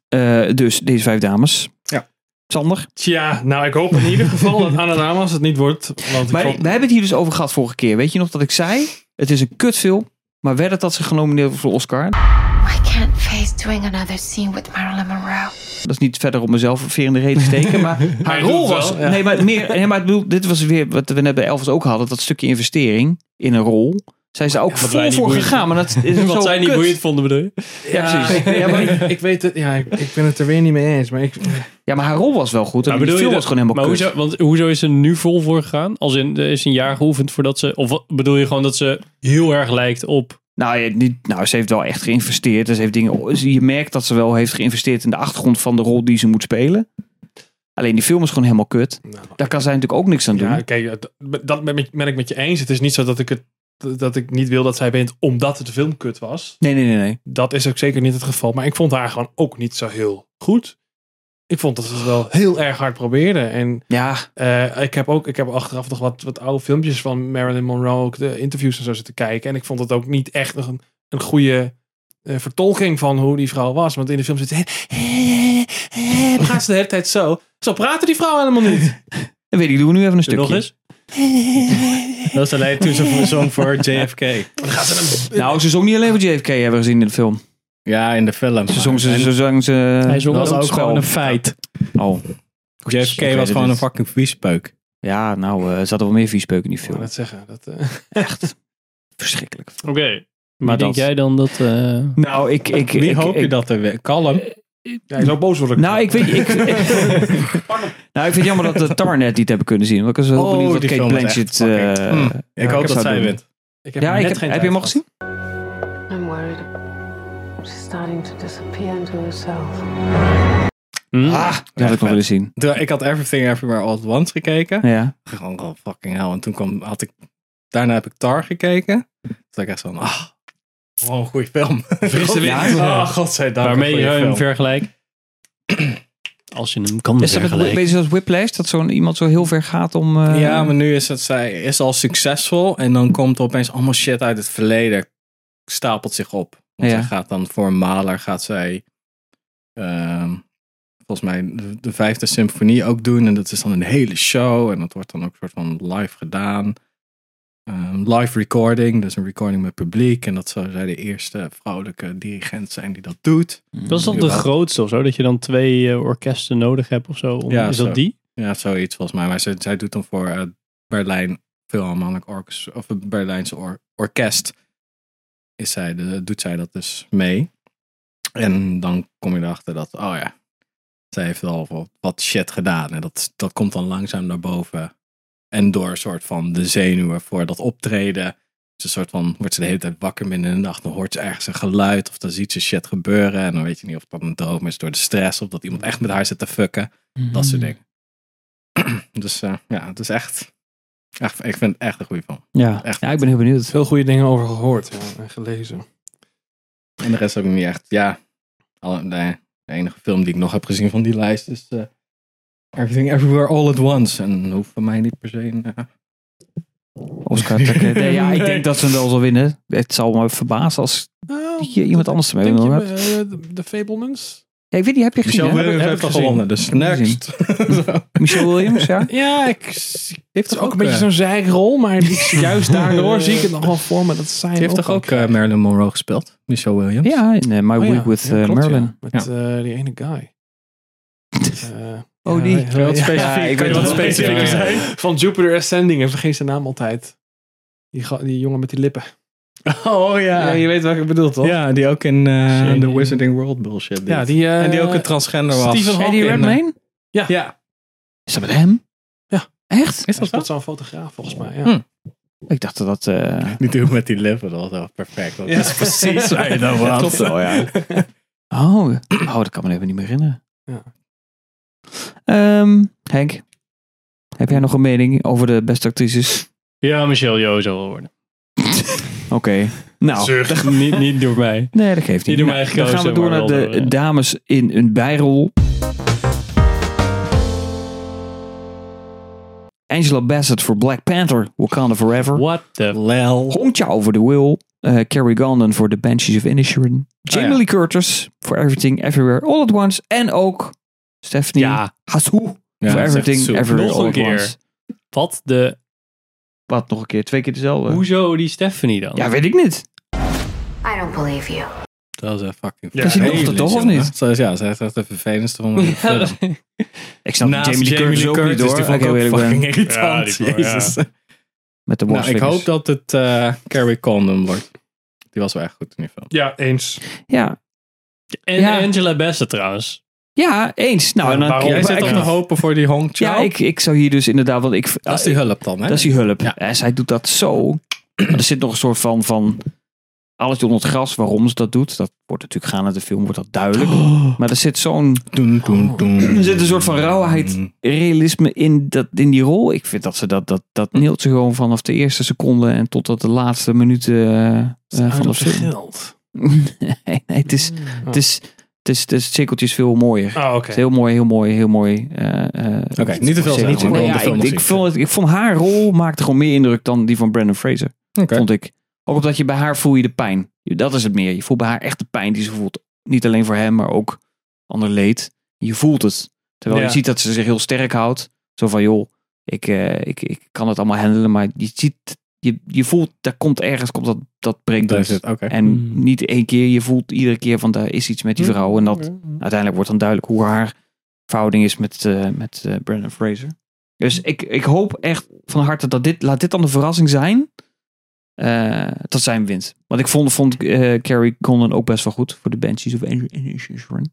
Eh, dus deze vijf dames.
Ja.
Sander.
Tja, nou ik hoop in ieder geval dat Anadamas het niet wordt. Want ik
Maar we
hoop-
hebben het hier dus over gehad vorige keer. Weet je nog dat ik zei? Het is een kutfilm. Maar werd het dat ze genomineerd wordt voor de Oscar?
I can't face doing another scene with Marilyn Monroe.
Dat is niet verder om mezelf een veer in de reet te steken. Maar haar
doet
rol
het wel,
was...
ja.
Nee, maar, meer, nee, maar ik bedoel, dit was weer wat we net bij Elvis ook hadden. Dat stukje investering in een rol. Zijn ze ook
wat wij
vol
niet
voor
boeiend
gegaan. Maar dat is zo
Wat zij niet
kut.
boeiend vonden, bedoel je?
Ja, precies.
Ja,
Ja,
maar ik,
maar,
ik weet het. Ja, ik, ik ben het er weer niet mee eens. Maar ik,
ja, maar haar rol was wel goed. En
Maar
de
bedoel
film
je
was
dat-
gewoon helemaal
maar
kut.
Hoezo, want hoezo is ze nu vol voor gegaan? Als in, er is een jaar geoefend voordat ze... Of wat- bedoel je gewoon dat ze heel erg lijkt op...
Nou, ja, niet, nou, ze heeft wel echt geïnvesteerd. En ze heeft dingen, je merkt dat ze wel heeft geïnvesteerd in de achtergrond van de rol die ze moet spelen. Alleen die film is gewoon helemaal kut.
Nou.
Daar kan zij natuurlijk ook niks aan doen.
ja, kijk, dat- dat ben ik- ben ik met je eens. Het is niet zo dat ik het dat ik niet wil dat zij wint omdat het de film kut was.
Nee, nee, nee, nee.
Dat is ook zeker niet het geval. Maar ik vond haar gewoon ook niet zo heel goed. Ik vond dat ze het wel heel erg hard probeerde. En
Ja,
Eh, ik heb ook ik heb achteraf nog wat, wat oude filmpjes van Marilyn Monroe, ook de interviews en zo zitten kijken. En ik vond het ook niet echt een, een goede eh, vertolking van hoe die vrouw was. Want in de film zit ze. Praat ze de hele tijd zo. Zo praten die vrouw helemaal niet.
dat weet ik. Doen we nu even een stukje.
Nog eens?
Dat is alleen toen ze zong voor JFK.
Nou, ze zong niet alleen voor JFK hebben we gezien in de film.
Ja, in de film.
Ze zong ze, ze, zong ze
Hij zong
dat was ook
Doodspel.
gewoon een feit.
Oh.
JFK
Ik weet
was
het
gewoon
niet.
een fucking viespeuk.
Ja, nou, eh, er zaten wel meer viespeuk in die
Ik wil
film.
dat zeggen. Dat, eh,
Echt verschrikkelijk.
Oké. Maar denk
dat-
jij dan dat... eh,
Nou, ik... ik
Wie
ik,
hoop je
ik-
dat er weer? Kalm.
ja, zo boos word ik.
Nou, ik weet... Ik, nou, ik vind het jammer dat de Tar net niet hebben kunnen zien. Want ik was wel
Oh,
benieuwd wat
die
Kate
film was
Blanchett...
echt fucking-
eh,
Mm. ik hoop
ik zou
dat zij
doen.
wint.
ik
Ja, ik
net
heb,
geen
heb je
tijd
hem al
gehad.
gezien?
I'm worried. She's starting to disappear into herself.
hm?
Ah, dat had ik nog willen zien.
Toen- Ik had Everything Everywhere All At Once gekeken.
Ja.
Gewoon oh, fucking hell. En toen kwam, had ik... Daarna heb ik Tar gekeken. Toen dacht ik echt zo van... Ah, gewoon een goede film.
Frisse wind.
Ja, oh, godzijdank.
Waarmee
een
je
goede
hem
film.
vergelijkt? Als je hem kan
Is dat een
vergelijken.
beetje als Whiplash? Dat zo'n iemand zo heel ver gaat om... eh,
Ja, maar nu is het, zij is al succesvol en dan komt er opeens allemaal shit uit het verleden, stapelt zich op. Want
Ja.
zij gaat dan voor Maler, gaat zij ehm, volgens mij de, de vijfde symfonie ook doen. En dat is dan een hele show en dat wordt dan ook een soort van live gedaan. Ehm, live recording, dus een recording met publiek. En dat zou zij de eerste vrouwelijke dirigent zijn die dat doet.
Hmm.
Dat is dan de grootste of zo? Dat je dan twee eh, orkesten nodig hebt of zo? om-
Ja,
is
zo.
dat die?
Ja, zoiets volgens mij. Maar zij, zij doet dan voor eh, Berlijn Philharmonic Orchestra, of het Berlijnse or- Orkest, is zij de, doet zij dat dus mee. En dan kom je erachter dat, oh ja, zij heeft al wat, wat shit gedaan. En dat, dat komt dan langzaam naar boven. En door een soort van de zenuwen voor dat optreden. Dus een soort van, wordt ze de hele tijd wakker midden in de nacht. Dan hoort ze ergens een geluid of dan ziet ze shit gebeuren. En dan weet je niet of dat een droom is door de stress. Of dat iemand echt met haar zit te fucken. Dat soort dingen. Dus eh, ja, het is echt, echt. Ik vind het echt een goede film.
Ja.
Echt.
ja, ik ben heel benieuwd.
Veel goede dingen over gehoord ja, en gelezen.
En de rest heb ik niet echt. Ja, alle, nee, de enige film die ik nog heb gezien van die lijst is. eh, Everything Everywhere All at Once. En dat hoeft voor mij niet per se een eh,
Oscar trekken. Nee, ja, ik denk dat ze hem wel zal winnen. Het zal me verbazen als hier eh, iemand anders ermee
Denk
wil.
je,
hebben.
eh, de- de Fablemans?
Ja, ik weet niet, heb je gezien?
Michelle
hè?
Williams
heb
heeft
ik
al
gezien.
gewonnen, dus
Heb ik
next.
Michelle Williams, ja.
Ja, ik,
heeft
het is ook een
eh,
beetje zo'n zijrol, maar die- juist daardoor zie ik het nog wel voor me. Dat zijn
Die heeft toch ook eh, Marilyn Monroe gespeeld? Michelle Williams?
Ja, in eh, My
Oh ja,
Week with
ja,
eh,
klopt,
Merlin.
ja. Met eh, die ene guy. Eh,
Oh,
ja,
die.
weet-
Kan je wat
ja,
specifieker-
ik
kan je
weet
wat
wel.
specifieker
Ja.
zijn?
Van Jupiter Ascending. En vergeet zijn naam altijd. Die, ga- die jongen met die lippen.
Oh
Ja,
ja.
je weet wat ik bedoel, toch?
Ja, die ook in
Shane.
eh The Wizarding World bullshit deed.
Ja, die, eh,
en die ook een transgender was.
Stephen Hawking.
Eddie
in, eh,
Redmayne?
Ja.
Is dat met hem?
Ja.
Echt?
Is
Hij
dat wel?
speelt zo'n fotograaf, volgens mij. Ja.
Hm.
Ik dacht dat dat... eh,
Niet doen met die lippen, dat was wel perfect. Dat
Ja.
is precies waar je dan was.
Klopt.
Zo, ja.
Oh, oh, dat kan me even niet meer herinneren.
Ja.
Ehm, Henk, heb jij nog een mening over de beste actrices?
Ja, Michelle Yeoh zal wel worden.
Oké. Nou,
niet, niet door mij.
nee, dat geeft niet.
Niet door
Nou,
mij
dan
gekozen,
gaan we door
maar
naar
wel
de
door, eh.
dames in een bijrol. Angela Bassett voor Black Panther, Wakanda Forever.
What the...
Lel.
Hong Chao voor The Will. eh, Carrie Condon voor The Banshees of Inisherin. Jamie
ja.
Lee Curtis voor Everything, Everywhere, All at Once. En ook Stephanie
Ja,
Hassou voor
dat is echt
Everything,
zoek.
Everywhere,
Nog
All
een
at
keer.
Once.
wat de...
Wat, nog een keer? Twee keer dezelfde?
Hoezo die Stephanie dan?
Ja, weet ik niet.
I don't believe you.
Dat is echt fucking
Dat is die dochter
vervelend,
toch, of
jongen.
niet?
Zo is- Ja, ze is echt de vervelendste van de film.
Ik snap
Naast
Jamie Lee Curtis ook niet
Curtis,
door.
die
als
vond
ik
ik
heel
ook
eerlijk ben.
fucking irritant.
Ja, die vond- ja.
Jezus.
Met de
Nou, ik
worstfingers.
hoop dat het eh, Carrie Condon wordt. Die was wel echt goed in die film.
Ja, eens.
Ja.
En
Ja.
Angela Bassett trouwens.
ja, eens. Nou, en dan...
waarom?
ja,
Jij
ik-
zit
ik-
op te hopen voor die Hong Chao?
ja, ik, ik zou hier dus inderdaad... Want ik,
Dat is die hulp dan, hè?
Dat is die hulp.
Ja.
En zij doet dat zo. Maar er zit nog een soort van, van alles onder het gras waarom ze dat doet. Dat wordt natuurlijk gaande de film, wordt dat duidelijk.
Oh.
Maar er zit zo'n
Doen, doen, doen.
Er zit een soort van rauwheid.
Mm.
realisme in, dat, in die rol. Ik vind dat ze dat, dat, dat
Hm.
neelt ze gewoon vanaf de eerste seconde en totdat de laatste minuten eh, eh, van de film.
geld.
nee, nee, het is,
Mm.
het is, het is, het is, het cirkeltje is veel mooier.
Oh, oké.
Het is heel mooi, heel mooi, heel mooi. eh, eh,
Oké, niet te veel
serie.
zeggen.
Nee, ja, ik, ik, vond het, ik vond haar rol maakte gewoon meer indruk dan die van Brandon Fraser. Vond ik. Ook omdat je bij haar voel je de pijn. Dat is het meer. Je voelt bij haar echt de pijn die ze voelt. Niet alleen voor hem, maar ook ander leed. Je voelt het. Terwijl
Ja.
je ziet dat ze zich heel sterk houdt. Zo van, joh, ik, eh, ik, ik kan het allemaal handelen. Maar je ziet, je, je voelt, daar komt ergens komt dat, dat breekpunt. dus.
Oké.
En niet één keer. Je voelt iedere keer van, daar is iets met die vrouw.
Mm.
En dat
Mm.
uiteindelijk wordt dan duidelijk hoe haar verhouding is met, eh, met eh Brandon Fraser. Dus ik, ik hoop echt van harte dat dit, laat dit dan de verrassing zijn, eh, dat zij hem wint. Want ik vond, vond eh, Carrie Condon ook best wel goed voor de Banshees of Inisherin.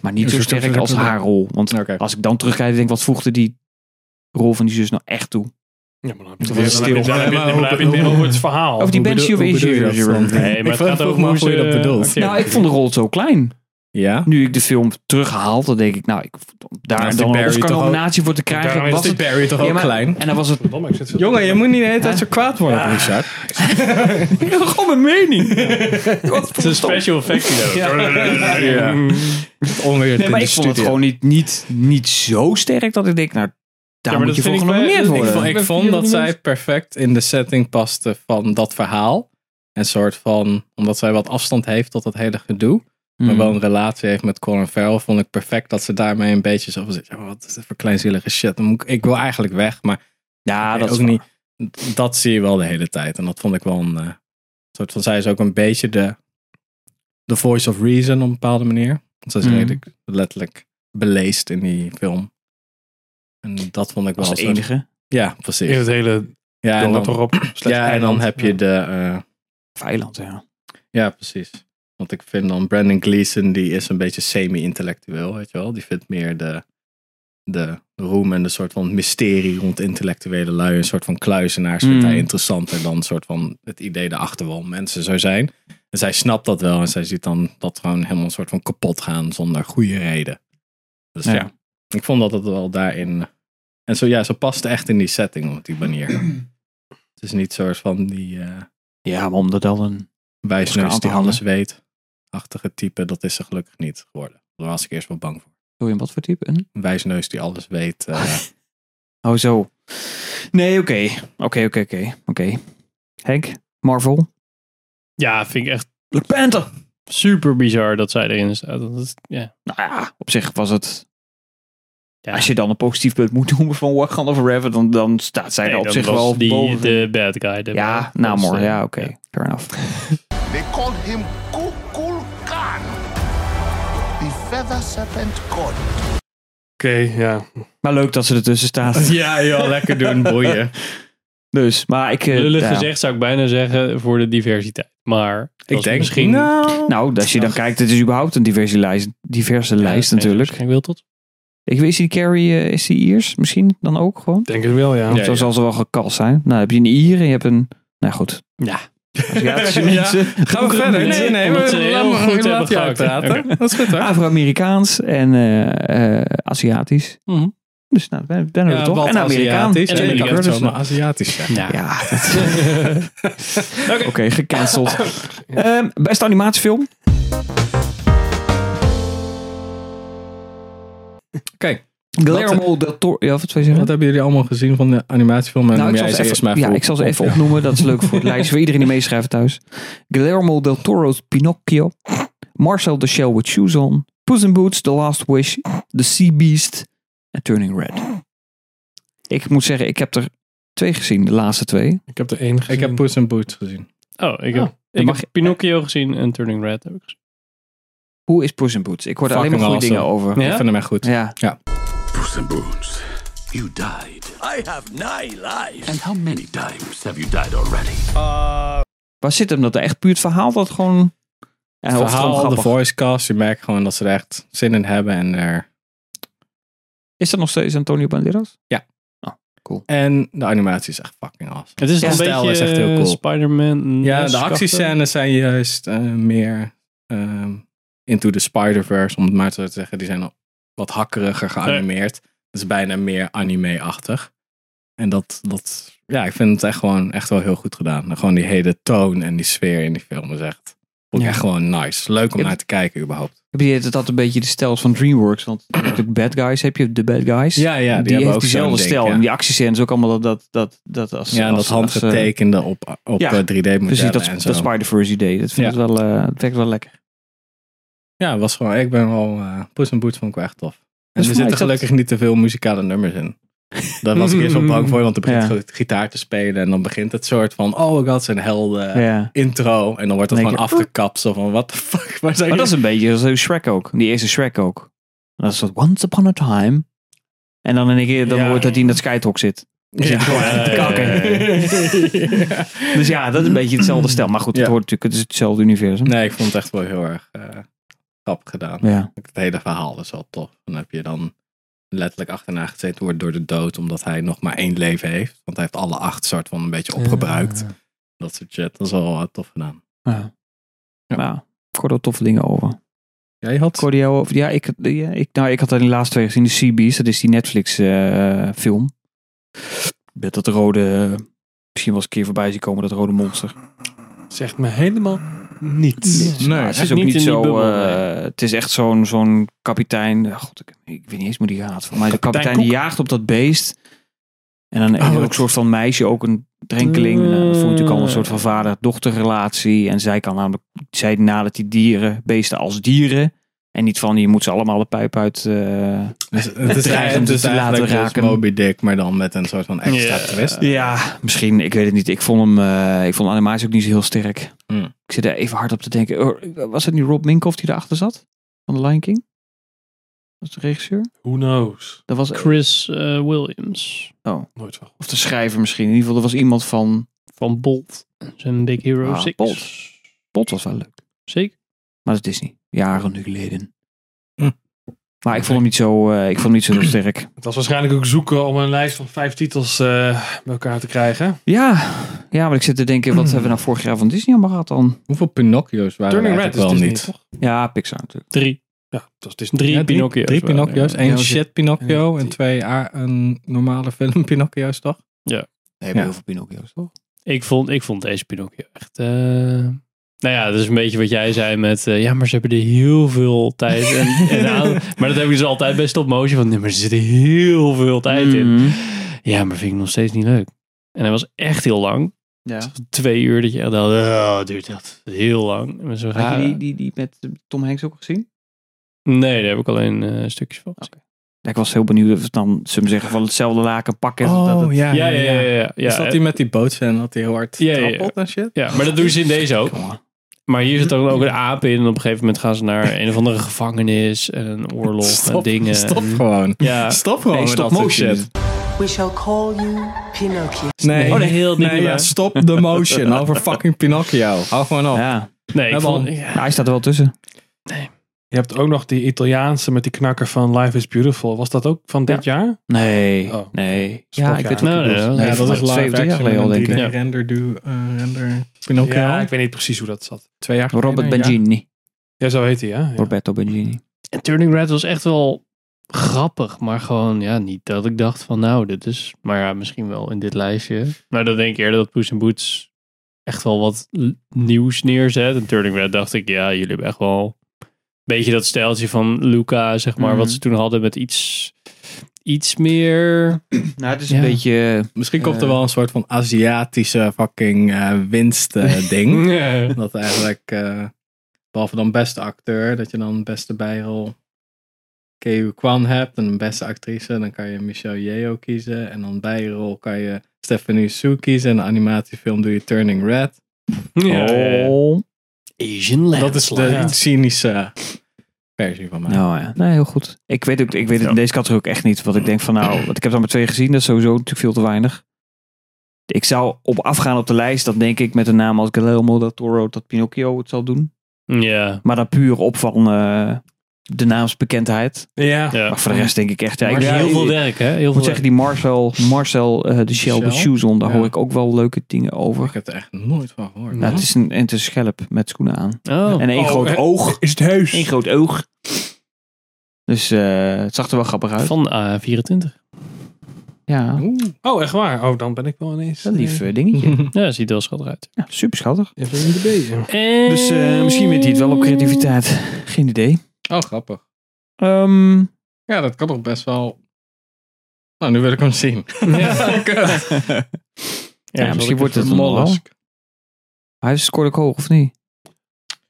Maar niet zo sterk als haar rol. Want
Oké.
als ik dan terugkijk, denk ik, wat voegde die rol van die zus nou echt toe?
Ja, maar dan heb je
Toen
het weer-
was het stil.
dan heb je- dan heb je- dan heb je het weer over het verhaal.
Over die
Hoe
Banshee of
bedoel- hoe bedoel je dat
Inisherin.
dan?
Nee, maar
Ik
het gaat
vroeg
over
me
hoe
af hoe je
ze-
dat bedoelt.
Ja,
nou, ik vond de rol zo klein.
Ja?
Nu ik de film terughaal, dan denk ik, nou, ik,
Nou,
daar
is die
dan een
Barry toch ook-
Oscar-nominatie voor te
Daarom
krijgen.
is
Was
die
het,
Barry toch
Ja,
ook
maar-
klein?
en dan was het
Verdomme, ik zit veel-
Jongen, Oh, je moet niet de hele tijd zo kwaad worden, Richard.
Ik heb gewoon mijn mening. Oh, Wat
Het is een special effect.
Ja. Onweer
Nee, maar ik vond het gewoon niet, niet, niet zo sterk dat ik denk, nou, daar
maar
moet je voor
dat vind ik wel-
genomineerd
dat-
dus Ik
worden.
vond, ik vond dat zij perfect in de setting paste van dat verhaal. En soort van, omdat zij wat afstand heeft tot dat hele gedoe.
Mm.
Hmm.
Maar wel een relatie heeft met Colin Farrell. Vond ik perfect dat ze daarmee een beetje zo van zit. ja, wat is dit voor kleinzielige shit. Dan moet ik, ik wil eigenlijk weg, maar
ja,
nee,
Ah, dat is
ook niet. Dat zie je wel de hele tijd. En dat vond ik wel een eh, soort van, zij is ook een beetje de, de voice of reason op een bepaalde manier. Want zij is
Mhm.
redelijk, letterlijk beleefd in die film. En dat vond ik wel
was de
een soort-
enige.
Ja, precies.
In het hele
Ja, en
dorp
dan,
erop. slecht
ja, en dan
eiland.
heb je de. eh,
Veiland, ja.
ja, precies. Want ik vind dan Brandon Gleeson, die is een beetje semi-intellectueel, weet je wel. Die vindt meer de, de roem en de soort van mysterie rond intellectuele lui. Een soort van kluizenaars vindt
Mm.
hij interessanter dan een soort van het idee erachter wel mensen zou zijn. En zij snapt dat wel en zij ziet dan dat gewoon helemaal een soort van kapot gaan zonder goede reden. Dus ja,
Ja.
ik vond dat het wel daarin... En zo, ja, ze past echt in die setting op die manier. het is niet soort van die... eh,
Ja, maar omdat dan een...
wijsneus
Oscar
die
Anton,
alles weet. Achtige type, dat is ze gelukkig niet geworden. Daar was ik eerst wel bang voor.
Sorry, wat voor type? Een?
Ah, Een wijsneus die alles weet. eh,
Oh, zo. Nee, oké. Oké, oké, oké. Oké. Henk, Marvel.
Ja, vind ik echt
Black Panther.
super bizar dat zij erin staat. Dat is, ja.
Nou ja, op zich was het...
Ja.
Als je dan een positief punt moet noemen van Wakanda Forever, dan, dan staat zij er
Nee,
op
dat
zich
was
wel
die,
boven.
de bad guy. de
ja,
bad- dat
Namor.
is, eh,
Ja, oké. Fair enough.
They called him Kukul Khan, the feather serpent god.
ja.
Maar leuk dat ze ertussen staat.
Ja, joh, lekker doen, boeien.
Dus, maar ik... eh,
Lullig
ja.
gezegd zou ik bijna zeggen voor de diversiteit. Maar dat
Ik
is
denk
misschien...
Nou,
Nou, als je dan kijkt, het is überhaupt een diverse lijst, diverse lijst natuurlijk.
Ik wil tot.
Ik weet, is die Carrie, eh, is die Iers misschien dan ook gewoon?
Denk het wel, ja.
Of zo zal ze wel gekast zijn. Nou, heb je een Ier en je hebt een... Nou goed.
Ja.
Aziatische
Ja.
mensen.
Gaan we verder? Nee, nee,
Omdat
we
ze heel
laten we
goed
goed
hebben
laat je
gehakt.
uitpraten. Dat is goed hoor.
Afro-Amerikaans en eh, eh, Aziatisch.
Mhm.
Dus nou, ben, ben we er toch. En Amerikaan.
Aziatisch.
En
En
Amerikaans
Amerikaans.
ook nog.
Aziatisch. ja.
Ja. Oké, gecanceld. Ehm, beste animatiefilm.
Kijk,
Guillermo del Toro. Ja, wat wil je zeggen?
Wat hebben jullie allemaal gezien van de animatiefilm? En
Nou, ik
noem
zal,
jij
ze
ze eerst maar
even, ja,
voor-
ik zal ze even
op-
opnoemen. Dat is leuk voor het lijstje. Voor iedereen die meeschrijft thuis. Guillermo del Toro's Pinocchio. Marcel de Shell with Shoes On. Puss in Boots, The Last Wish. The Sea Beast. En Turning Red. Ik moet zeggen, ik heb er twee gezien. De laatste twee.
Ik heb er één gezien.
Ik heb Puss in Boots gezien.
Oh, ik heb,
Oh,
ik
mag
heb Pinocchio gezien en Turning Red heb ik gezien.
Hoe is Puss in Boots? Ik hoor daar alleen maar
Fucking
goede dingen
awesome.
over.
Ja?
Ja.
Ik vind hem echt goed.
Puss in Boots, you died. I have nine lives. And how many times have you died already?
Waar zit hem dat? Echt puur het verhaal dat gewoon... En
Het
of het gewoon
verhaal, de
grappig.
voice cast. Je merkt gewoon dat ze er echt zin in hebben. En, er...
Is dat nog steeds Antonio Banderas?
en de animatie is echt fucking awesome.
Het is
Ja.
een
Stijl
beetje
is echt heel
eh,
cool.
Spider-Man.
Ja, de
Nestkachtig.
actiescènes zijn juist eh, meer ehm, into the Spider-Verse, om het maar zo te zeggen. Die zijn al wat hakkeriger geanimeerd. Dat is bijna meer anime-achtig. En dat, dat, ja, ik vind het echt gewoon echt wel heel goed gedaan. En gewoon die hele toon en die sfeer in die film is echt, vond ik
Ja.
echt gewoon nice. Leuk om
Ja.
naar te kijken überhaupt.
Heb je dat dat een beetje de stijl is van DreamWorks? Want natuurlijk bad guys heb je de bad guys.
Ja, ja, die,
die,
hebben
heeft
ook
diezelfde
zo'n ding,
stijl.
ja.
En die actiescènes ook allemaal dat, dat, dat, dat als...
Ja, en dat
als- als, eh,
handgetekende op, op
ja,
eh, 3D-modellen
Precies, dat,
en
dat
zo.
Spider-Verse idee. Dat vind
Ja.
ik wel, eh, het werkt wel lekker.
Ja, het was gewoon, ik ben wel, eh Puss in Boots vond ik wel echt tof. En
Dus
er
voor mij
zitten
is dat-
gelukkig niet te veel muzikale nummers in. Daar was ik eerst wel bang voor, want er begint
Ja.
ge- gitaar te spelen en dan begint het soort van, oh my god, zijn helden
Ja.
intro. En dan wordt dat
Dan
gewoon
denk je,
afgekapt, zo van, what the fuck, waar zijn
Maar dat is een beetje zo Shrek ook. Die eerste Shrek ook. Dat is dat Once Upon a Time. En dan in een keer, dan
Ja.
hoort dat hij in dat Skytalk zit.
jullie?"
zit gewoon echt te kakken.
Ja.
Dus ja, dat is een beetje hetzelfde stijl. Maar goed, het
Ja.
hoort natuurlijk, het is hetzelfde universum.
Nee, ik vond het echt wel heel erg eh grappig gedaan.
Ja.
Het hele verhaal is wel tof. Dan heb je dan letterlijk achterna gezeten worden door de dood, omdat hij nog maar één leven heeft. Want hij heeft alle acht soort van een beetje opgebruikt. Dat soort shit. Dat is wel eh, tof gedaan.
Ja. Nou, ik hoor er toffe dingen over.
Jij had...
Ik hoorde jou over. Ja, ik, ja, ik, nou, ik had al die laatste twee gezien. De Sea Beast, dat is die eh, Netflix-film. Met dat rode. Misschien was een keer voorbij zien komen, dat rode monster.
Zegt me helemaal niets.
Nee,
Maar het is
echt
ook
niet
niet,
in die
zo.
bubbel,
eh, het is echt zo'n zo'n kapitein. eh, God, ik, ik weet niet eens hoe die gaat. Maar de kapitein die jaagt op dat beest. En dan en
Oh,
dan ook
het-
een soort van meisje, ook een drenkeling. En dan voelt natuurlijk al een soort van vader-dochterrelatie. En zij kan namelijk, zij nadert die dieren, beesten als dieren. En niet van, je moet ze allemaal de pijp uit. eh,
Dus het is,
Dreigend
eigenlijk- het
te
is
laten
eigenlijk dus
raken.
Moby Dick, maar dan met een soort van extra twist.
Ja, misschien. Ik weet het niet. Ik vond hem, eh, ik vond de animatie ook niet zo heel sterk.
Hmm.
Ik zit er even hard op te denken. Oh, Was het niet Rob Minkoff die daarachter zat? Van The Lion King? Was de regisseur?
Who knows?
Dat was,
Chris eh, Williams
Nooit van.
of de schrijver misschien. In ieder geval, er was iemand van...
van Bolt. Zijn Big Hero
Ah,
6.
Bolt. Bot was wel leuk.
Zeker.
Maar dat is niet. Jaren geleden.
Hm.
Hmm.
Maar ik vond hem niet zo, eh, ik vond hem niet zo heel sterk.
Het was waarschijnlijk ook zoeken om een lijst van vijf titels eh, bij elkaar te krijgen.
Ja. ja, maar ik zit te denken,
Hmm.
wat hebben we nou vorig jaar van Disney allemaal gehad dan?
Hoeveel Pinocchio's waren
Turning
er
Red is
eigenlijk wel
Disney,
dus niet?
toch?
Ja, Pixar natuurlijk.
Drie.
Ja, dat is
Drie
Ja, dus
Pinocchio's.
Drie
waren er.
Pinocchio's. Eén
Ja,
shit Pinocchio en twee a- een normale film Pinocchio's, toch?
Nee,
Ja.
heel veel Pinocchio's toch?
Ik vond, ik vond deze Pinocchio echt... eh, nou ja, dat is een beetje wat jij zei met... eh, ja, maar ze hebben er heel veel tijd
Hmm.
en, en aan. Maar dat heb ik dus altijd bij stop motion. Van, nee, maar er zit heel veel tijd in. Ja, maar vind ik nog steeds niet leuk. En hij was echt heel lang.
Ja.
Twee uur dat je echt dacht, oh, duurt echt heel lang. En zo,
Had
ja.
je die, die, die met Tom Hanks ook gezien?
Nee, daar heb ik alleen eh, stukjes van. gezien.
Ja, ik was heel benieuwd of het dan, ze hem zeggen, van hetzelfde laken pakken. dat het-
Oh, ja,
Ja, ja, ja. ja, ja, ja.
Is dat die met die boot en dat hij heel hard
Ja, ja, ja.
trappelt en shit?
Ja, maar dat doen ze in deze ook. Maar hier zit dan ook een aap in. En op een gegeven moment gaan ze naar een of andere gevangenis. En een oorlog en dingen.
Stop
En-
gewoon.
Ja.
Stop gewoon
Nee,
met
stop
dat soort
motion.
shit.
We shall call you Pinocchio.
Nee,
Oh, nee, heel niet
nee
doen,
ja,
hè?
stop de motion over fucking Pinocchio. Hou gewoon
Oh.
op.
Ja.
Nee, ik
Ja,
vond,
man.
ja.
Ja, hij staat er wel tussen.
Je hebt ook nog die Italiaanse met die knakker van Life is Beautiful. Was dat ook van dit jaar?
Nee,
Oh.
nee.
Sportjaar.
Ja, ik weet wat je
Nee, nee,
bedoelt.
nee,
Nee,
dat
van
is live
70 jaar geleden al, denk ik.
Ja.
Render, do, eh, render Pinocchio.
Ja, ik weet niet precies hoe dat zat.
Twee jaar geleden,
Robert
ja.
Bengini.
Ja, zo heet hij, hè? Ja.
Roberto Bengini.
En Turning Red was echt wel grappig. Maar gewoon, ja, niet dat ik dacht van nou, dit is... Maar ja, misschien wel in dit lijstje. Maar Nou, dan denk ik eerder dat Poes en Boots echt wel wat l- nieuws neerzet. En Turning Red dacht ik, ja, jullie hebben echt wel... Een beetje dat stijltje van Luca, zeg maar.
Mhm.
Wat ze toen hadden met iets... Iets meer...
Nou, het is
Ja.
een beetje...
Misschien komt er
Eh.
wel een soort van Aziatische fucking eh, winst eh, ding.
Ja.
dat eigenlijk, eh, behalve dan beste acteur, dat je dan beste bijrol Keu Kwan hebt en een beste actrice. Dan kan je Michelle Yeoh kiezen en dan bijrol kan je Stephanie Su kiezen. En een animatiefilm doe je Turning Red.
Oh.
Asian
Dat is de cynische versie van mij.
Nou ja, nee, heel goed. Ik weet, ook, ik weet het in deze categorie ook echt niet. Wat ik denk van nou, want ik heb er maar twee gezien. Dat is sowieso natuurlijk veel te weinig. Ik zou op afgaan op de lijst. Dat denk ik met een naam als Guillermo del Toro dat Pinocchio het zal doen.
Ja.
Maar dan puur op van eh, de naamsbekendheid.
Ja.
ja.
Maar voor de rest denk ik echt... Ja, ik,
Maar heel
ik-
veel werk, hè? Heel
ik moet
veel
zeggen,
werk.
die Marcel, Marcel eh, de Shell, de
Michel?
Shoes on, daar
Ja.
hoor ik ook wel leuke dingen over.
Ik heb er echt nooit van gehoord.
Nou, het is een, en het is een schelp met schoenen aan.
Oh.
En één
Oh,
groot
eh,
oog.
Is het heus?
Eén groot oog. Dus eh, het zag er wel grappig uit.
Van A24.
Ja,
Oeh.
Oh, echt waar? Oh, dan ben ik wel ineens...
een lief eh, dingetje.
Ja, ziet er wel schattig uit.
Ja, super schattig.
eh, Even in de bezig.
Dus eh, misschien wint hij het wel op creativiteit. Geen idee.
Oh, grappig.
Ehm,
Ja, dat kan toch best wel. Nou, nu wil ik hem zien.
Ja.
Kut.
ja,
zal
misschien
ik
wordt het
even
een wel.
Mollusk.
Hij scoorde ook hoog, of niet?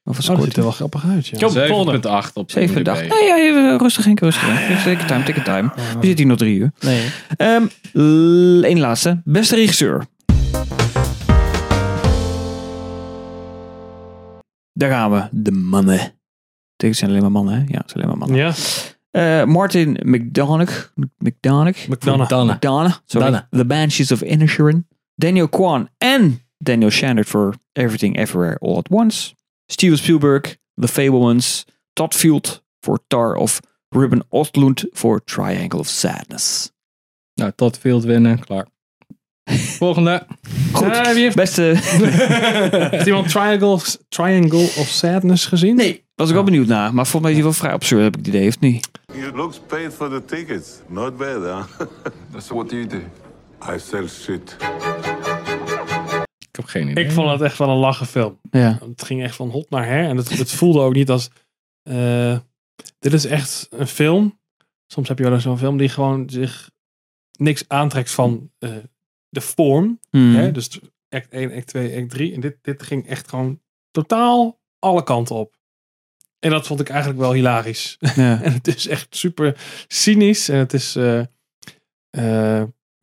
Of wat
Oh, dat
scoort
ziet er
hij?
wel grappig uit, ja.
Kom,
7,8
volgende.
op
7
IMDb.
dag. Nee, ja, even rustig Henk, rustig Henk. Geef Take your time, take your time. We zitten hier nog drie uur.
Nee.
Ehm Eén laatste. Beste regisseur. Daar gaan we. De mannen. Het zijn alleen maar mannen, hè? Ja, het zijn alleen maar mannen.
Ja.
Eh, Martin McDonagh. McDonagh.
McDonough.
Dana.
McDonagh. Sorry.
Dana.
The Banshees of Inisherin. Daniel Kwan en Daniel Shandert voor Everything Everywhere All at Once. Steven Spielberg, The Fablemans. Todd Field voor Tar of Ruben Ostlund voor Triangle of Sadness.
Nou, tot field winnen, klaar. Volgende.
Goed.
Eh, wie heeft-
Beste.
Heeft iemand Triangle, Triangle of Sadness gezien?
Nee. Was ik wel benieuwd naar. Maar volgens mij is hij wel vrij absurd, heb ik het idee, of niet?
You looks paid for the tickets. Not bad, huh?
So what do you do?
I sell shit.
Ik heb geen idee.
Ik vond het echt wel een lachen film.
Ja.
Het ging echt van hot naar her. En het, het voelde ook niet als... eh, dit is echt een film. Soms heb je wel eens zo'n film die gewoon zich niks aantrekt van eh, de vorm.
Hmm.
Hè?
Mhm.
Dus act 1, act 2, act 3. En dit, dit ging echt gewoon totaal alle kanten op. En dat vond ik eigenlijk wel hilarisch.
Ja.
En het is echt super cynisch. En het is eh, eh,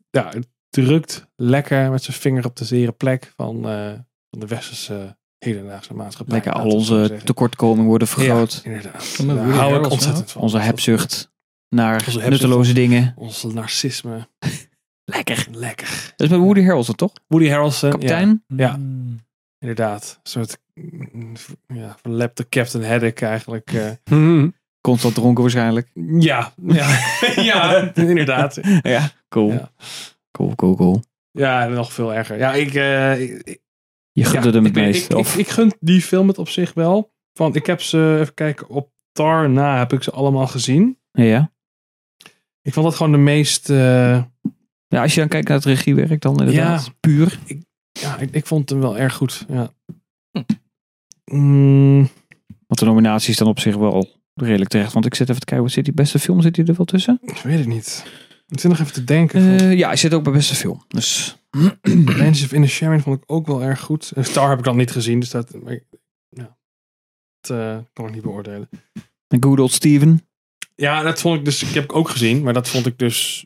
ja, het drukt lekker met zijn vinger op de zere plek van, eh, van de westerse eh, hedendaagse maatschappij.
Lekker al
Laten we het zo
onze
zeggen.
tekortkomingen worden vergroot.
Ja, inderdaad.
Van de
Daar
Woody
hou ik
Harrelson,
ontzettend van.
Onze hebzucht naar
Onze hebzucht.
nutteloze dingen.
Ons narcisme.
Lekker.
Lekker.
Dat is met Woody Harrelson, toch?
Woody Harrelson. ja.
Kapitein?
Ja. Inderdaad, een soort mm, ja, verlepte Captain Haddock eigenlijk. eh.
Constant dronken waarschijnlijk.
ja, ja, ja, inderdaad.
Ja, cool.
Ja.
Cool, cool, cool.
Ja, en nog veel erger. Ja, ik, eh, ik- ik-
Je gunde
ja,
hem
ik
het
ben-
meest.
Ik,
of,
ik, ik gun die film het op zich wel. Want ik heb ze, even kijken, op Tar na heb ik ze allemaal gezien.
ja.
Ik vond dat gewoon de meest... eh,
ja, als je dan kijkt naar het regiewerk dan inderdaad.
Ja.
Puur.
ja, ik, ik vond hem wel erg goed. Ja. Mm,
Want de nominatie is dan op zich wel redelijk terecht. Want ik zit even te kijken, wat zit die beste film zit die er wel tussen?
ik weet het niet. Ik zit nog even te denken. van-
Eh, ja, hij zit ook bij beste film. Dus
Mansions of Inner Sharing vond ik ook wel erg goed. Eh, Star heb ik dan niet gezien, dus dat, maar ik- ja. dat eh, kan ik niet beoordelen.
een good old Steven.
Ja, dat vond ik dus. Ik heb ik ook gezien, maar dat vond ik dus.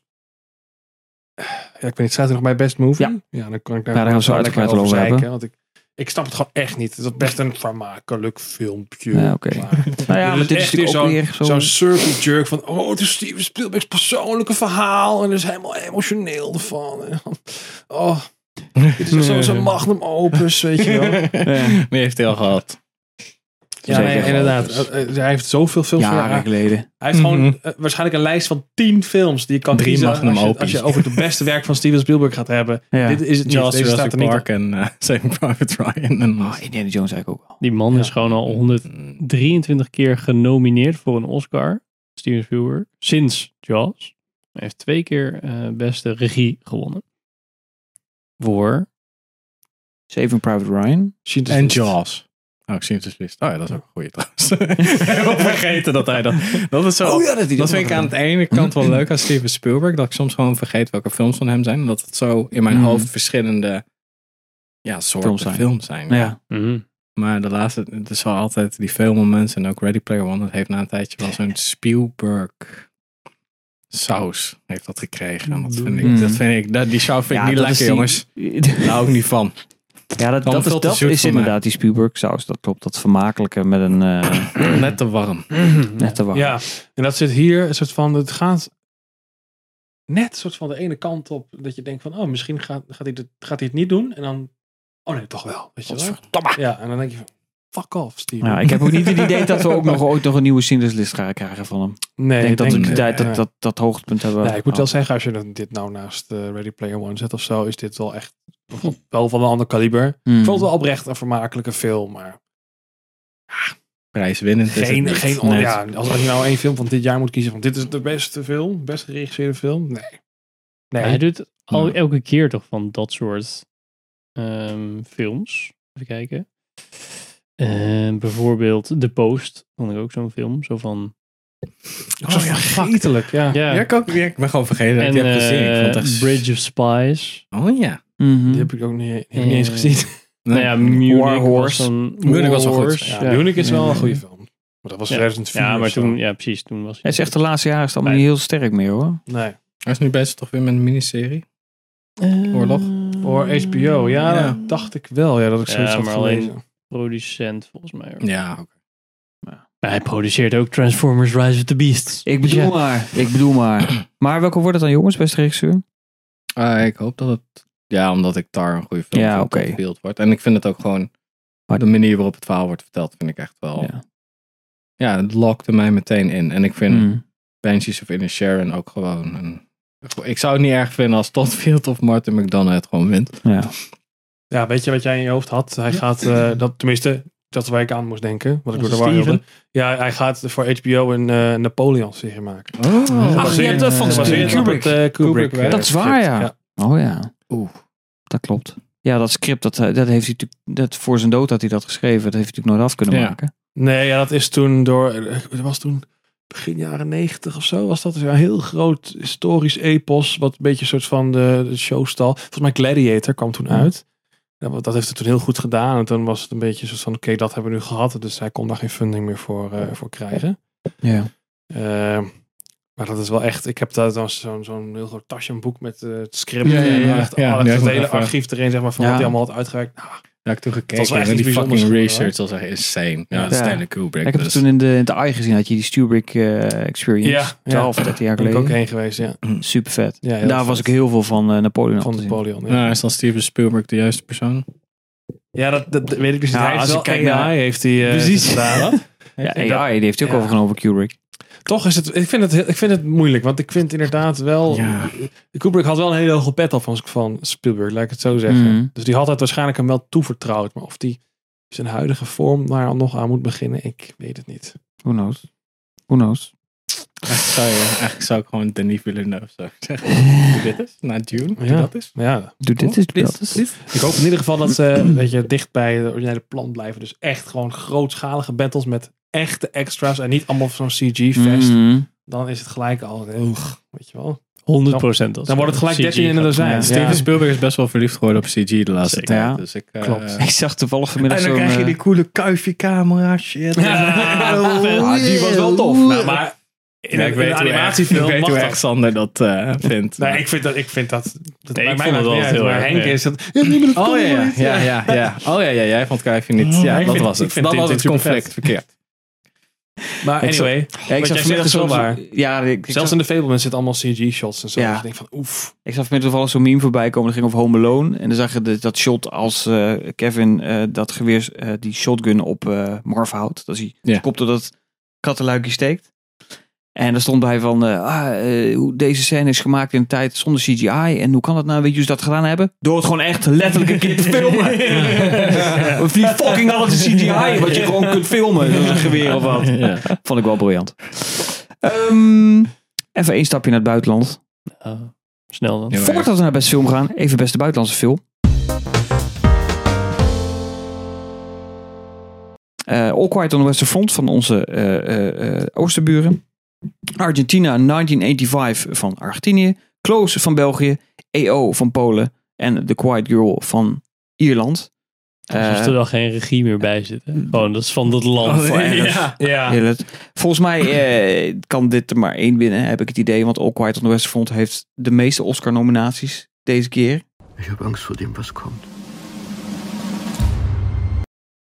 Ja, ik weet niet, staat er nog bij Best Movie?
Ja.
dan kan ik daar
Ja, daar gaan we zo
wel
uitgebreid
lekker
over hebben.
zeiken, Want ik, ik snap het gewoon echt niet. Het is best een vermakelijk filmpje.
Ja, oké.
maar-
Nou ja, maar
Dit is
dit is
echt weer
natuurlijk ook
zo'n
weer
zo'n
zo'n...
circle jerk van... Oh, het is Steven Spielberg's persoonlijke verhaal. En er is helemaal emotioneel ervan. En dan- Oh, dit is echt zo'n zo'n magnum opus, weet je wel.
Ja,
Die heeft hij al gehad.
Ja, nee,
Zeker.
inderdaad. Eh, eh, Hij heeft zoveel films
jaren
gemaakt.
geleden.
Hij heeft gewoon
Mhm.
eh, waarschijnlijk een lijst van tien films die je kan
Drie
kiezen.
magnum
als, je,
opus.
als je over het beste werk van Steven Spielberg gaat hebben.
Ja.
Dit is het niet.
Charles
Deze staat
Jurassic
er niet
Park en eh, Saving Private Ryan. En,
Oh, Indiana Jones eigenlijk ook wel.
Die man is gewoon al
Oh,
123 keer genomineerd voor een Oscar. Steven Spielberg. Sinds Jaws. Hij heeft twee keer eh, beste regie gewonnen. Voor.
Saving Private Ryan.
op.
en Jaws. Oh, ik zie het dus list. Oh ja, dat is ook een goede trouwens. Ik heb ook vergeten dat hij dat... Dat is zo...
Oh ja, dat hij
dat
dat
vind
nog
ik aan
had.
het ene kant wel leuk aan Steven Spielberg. Dat ik soms gewoon vergeet welke films van hem zijn. Omdat het zo in mijn
Mhm.
hoofd verschillende ja, soorten
Films
films
zijn.
zijn.
Ja.
Mhm. Maar de laatste, het is wel altijd die filmmomenten en ook Ready Player One. Dat heeft na een tijdje wel zo'n Spielberg saus heeft dat gekregen. En dat vind ik,
Mhm.
dat vind ik, dat, die saus vind ik
Ja,
niet
dat
lekker
is die-
jongens. Daar hou ik niet van.
Ja, dat,
Kan
dat is,
veel te
dat
zoet
is
voor mij.
inderdaad die Spielberg-saus. Dat klopt, dat vermakelijke met een eh
Net te warm.
nette warm.
Ja, en dat zit hier een soort van, het gaat net een soort van de ene kant op, dat je denkt van, oh, misschien gaat, gaat, hij, het, gaat hij het niet doen, en dan, oh nee, toch wel, weet je wel. Ja, en dan denk je van, fuck off, Steven.
Ja, ik heb ook niet het idee dat we ook nog ooit nog een nieuwe Cinderslist gaan krijgen van hem.
nee,
Ik denk dat we die
eh,
tijd
eh,
dat, Oh. dat, dat hoogtepunt hebben.
nee, ik moet wel
gehad.
zeggen, als je dat- dit nou naast eh, Ready Player One zet of zo, is dit wel echt wel van een ander kaliber.
Hmm.
Mm.
Ik vond het wel oprecht een vermakelijke film, maar
Prijswinnend is
geen,
het
geen
niet.
on-
Nee.
ja, als, als je nou één film van dit jaar moet kiezen, van dit is de beste film, best geregisseerde film, nee. Nee,
Hij doet al,
Ja.
elke keer toch van dat soort ehm, films. Even kijken. Ehm, bijvoorbeeld The Post. Vond ik ook zo'n film. Zo van.
Ook zo
Oh ja,
vergetelijk, ja.
Ja.
Ja, ik, ook, ja, ik ben gewoon vergeten dat
en
ik die heb gezien. Ik vond het
eh,
echt...
Bridge of Spies.
Oh ja.
Mhm.
Die heb ik ook niet, heb ik niet
Eh,
eens gezien.
Nou ja, Munich
War Horse.
was een
Munich was wel goed.
Ja, Munich is wel
Ja.
een goede film. Maar dat was
Ja.
2004
Ja, maar
of zo.
toen, ja, precies. Toen was
Hij is echt de laatste jaren is het allemaal
Nee.
niet heel sterk meer hoor.
Nee.
Hij is nu bezig toch weer met een miniserie.
Ehm,
Oorlog.
Voor HBO, ja,
Ja.
dat dacht ik wel. Ja, dat ik
Ja,
zoiets had
maar alleen-
gelezen.
producent volgens mij. hoor.
Ja,
Maar hij produceert ook Transformers Rise of the Beasts.
Ik bedoel
Dus ja.
maar. Ik bedoel maar. Maar welke wordt het dan jongens, beste regisseur?
Ah, ik hoop dat het... Ja, omdat ik Tar een goede film
Ja,
vind, dat
oké.
gespeeld wordt. En ik vind het ook gewoon...
Maar-
de manier waarop het verhaal wordt verteld vind Oh, ik echt wel... Ja,
Ja.
het lokte mij meteen in. En ik vind
Mm.
Banshees of Inner Sharon ook gewoon... Een, ik zou het niet erg vinden als Todfield of Martin McDonough het gewoon wint.
Mm, Ja.
Ja, weet je wat jij in je hoofd had? Hij gaat, eh, dat, tenminste, dat is waar ik aan moest denken. Wat ik door de war
Steven?
wilde. Ja, hij gaat voor HBO een eh, Napoleon-serie maken.
Oh,
Ach, je hebt dat van
Gebaseerd op
Kubrick.
het, eh, Kubrick.
Kubrick, hè?
eh,
Dat is waar, ja.
script.
Oh ja,
Oeh.
dat klopt. Ja, dat script, dat, eh, dat heeft hij natuurlijk, dat voor zijn dood had hij dat geschreven. Dat heeft hij natuurlijk nooit af kunnen
Ja.
maken.
Nee, ja, dat is toen door. eh, Dat was toen begin jaren negentig of zo. Was dat een heel groot historisch epos. Wat een beetje een soort van de, de showstal. Volgens mij Gladiator kwam toen uit. Ja, want dat heeft het toen heel goed gedaan. En toen was het een beetje een soort van: oké, dat hebben we nu gehad. Dus hij kon daar geen funding meer voor, eh, voor krijgen.
Ja.
Eh, maar dat is wel echt. Ik heb daar dan zo'n zo'n heel groot tasje, een boek met eh, het script.
Ja, ja,
en
ja,
echt
ja,
alle-
ja,
het
ik moet
hele
even-
archief erin, zeg maar, van
Ja.
wat hij allemaal had uitgewerkt. Nou,
Daar heb ik toen
was wel
gekeken.
echt
En die
iets bijzonders
fucking
geworden,
research was echt insane. Ja, dat is
Ja.
Stanley Kubrick.
Ik heb het
dus-
toen in de, in de AI gezien, had je die Stubrick eh, Experience.
Ja, ja.
12, 13 jaar
daar ben ik ook
geleden.
heen geweest, ja.
Super vet.
ja heel
Daar was ik
vet.
heel veel van eh, Napoleon
van
af te zien.
Napoleon. ja.
Nou, is dan Steven Spielberg de juiste persoon?
Ja, dat, dat weet ik dus niet.
Ja,
hij heeft
als
wel
ik kijk
AI,
naar-
heeft hij eh,
Precies.
gedaan.
Ja, AI, die heeft hij ook
Ja.
overgenomen, Kubrick.
Toch is het, ik vind het, heel- ik vind het moeilijk, want ik vind inderdaad wel,
Ja.
Kubrick had wel een hele hoge pet af van, van Spielberg, laat ik het zo zeggen.
Mhm.
Dus die had het waarschijnlijk hem wel toevertrouwd, maar of die zijn huidige vorm daar nog aan moet beginnen, ik weet het niet.
Who knows? Who knows?
Eigenlijk zou, je, eigenlijk zou ik gewoon Denis Villeneuve zo zeggen. Doe dit is, na June. doe
Ja.
dat is.
Maar ja,
Doe dit is dat. is-
ik hoop in ieder geval dat ze weet je, dicht bij de originele plan blijven. Dus echt gewoon grootschalige battles met echte extras en niet allemaal zo'n CG-fest.
Mhm.
Dan is het gelijk al, eh, weet je wel.
100 procent.
Dan wordt het gelijk 13 in een dozijn.
Steven Spielberg is best wel verliefd geworden op CG de laatste
Zeker.
tijd.
Ja.
Dus ik, eh,
Klopt. Ik zag toevallig vanmiddag
En dan
zo'n,
krijg je
eh,
die coole kuifje camera shit.
Oh,
Ah, die was wel tof.
Nou, maar in
Ja,
een,
ik
in een
weet hoe erg-
animatiefilm
Ik weet
mag
hoe
dat.
erg Sander dat eh, vindt.
Nee, ik vind dat. Ik vind dat, dat
Nee,
bij
ik
mij
vond
maakt
het wel
niet uit,
heel
maar
erg,
Henk
ja.
is dat. Ja, nee, maar dat
Oh
kon
ja, ja,
nooit.
ja, ja, ja. Oh ja, ja, jij vond Kuifje niet. Ja,
ik
dat
vind-
was
ik
het.
vind
Dat
dit
was het
natuurlijk
conflict.
vet.
Verkeerd.
Maar
Ik zag-
anyway,
Ja, ik
Wat
zag
jij zegt
vanmiddag
is wel
zo'n...
waar.
Ja, ik, ik
zelfs
zag,
in de Fablemans zitten allemaal CG-shots en zo.
Ja.
Dus ik denk van, oef.
ik zag vanmiddag toevallig zo'n meme voorbij komen. Dat ging over Home Alone. En dan zag je de- dat shot als eh, Kevin eh, dat geweer, eh, die shotgun op eh Marv houdt. Dat hij
Ja.
zijn kop door dat kattenluikje steekt. En daar stond bij van, eh, ah, eh, hoe deze scène is gemaakt in een tijd zonder CGI. En hoe kan dat nou? Weet je hoe ze dat gedaan hebben? Door het gewoon echt letterlijk een keer te filmen. Of die fucking alles is CGI, wat je gewoon kunt filmen. Dat is een geweer of wat.
Ja.
Vond ik wel briljant. Ehm, even één stapje naar het buitenland.
Ah, Snel dan.
Ja, maar-
Voordat we naar beste film gaan, even beste buitenlandse film. Eh, All Quiet on the Western Front van onze eh, eh, eh, oosterburen. Argentina 1985 van Argentinië. Close van België. EO van Polen. En The Quiet Girl van Ierland.
Alsof
Eh,
er dan geen regie meer bij zit. hè? Gewoon, dat is van dat land.
Oh,
voor
ja.
eeuwig.
Ja.
Heel het. Volgens mij eh, kan dit er maar één winnen, heb ik het idee. Want All Quiet on the Western Front heeft de meeste Oscar-nominaties deze keer.
Ich habe Angst vor dem, was kommt.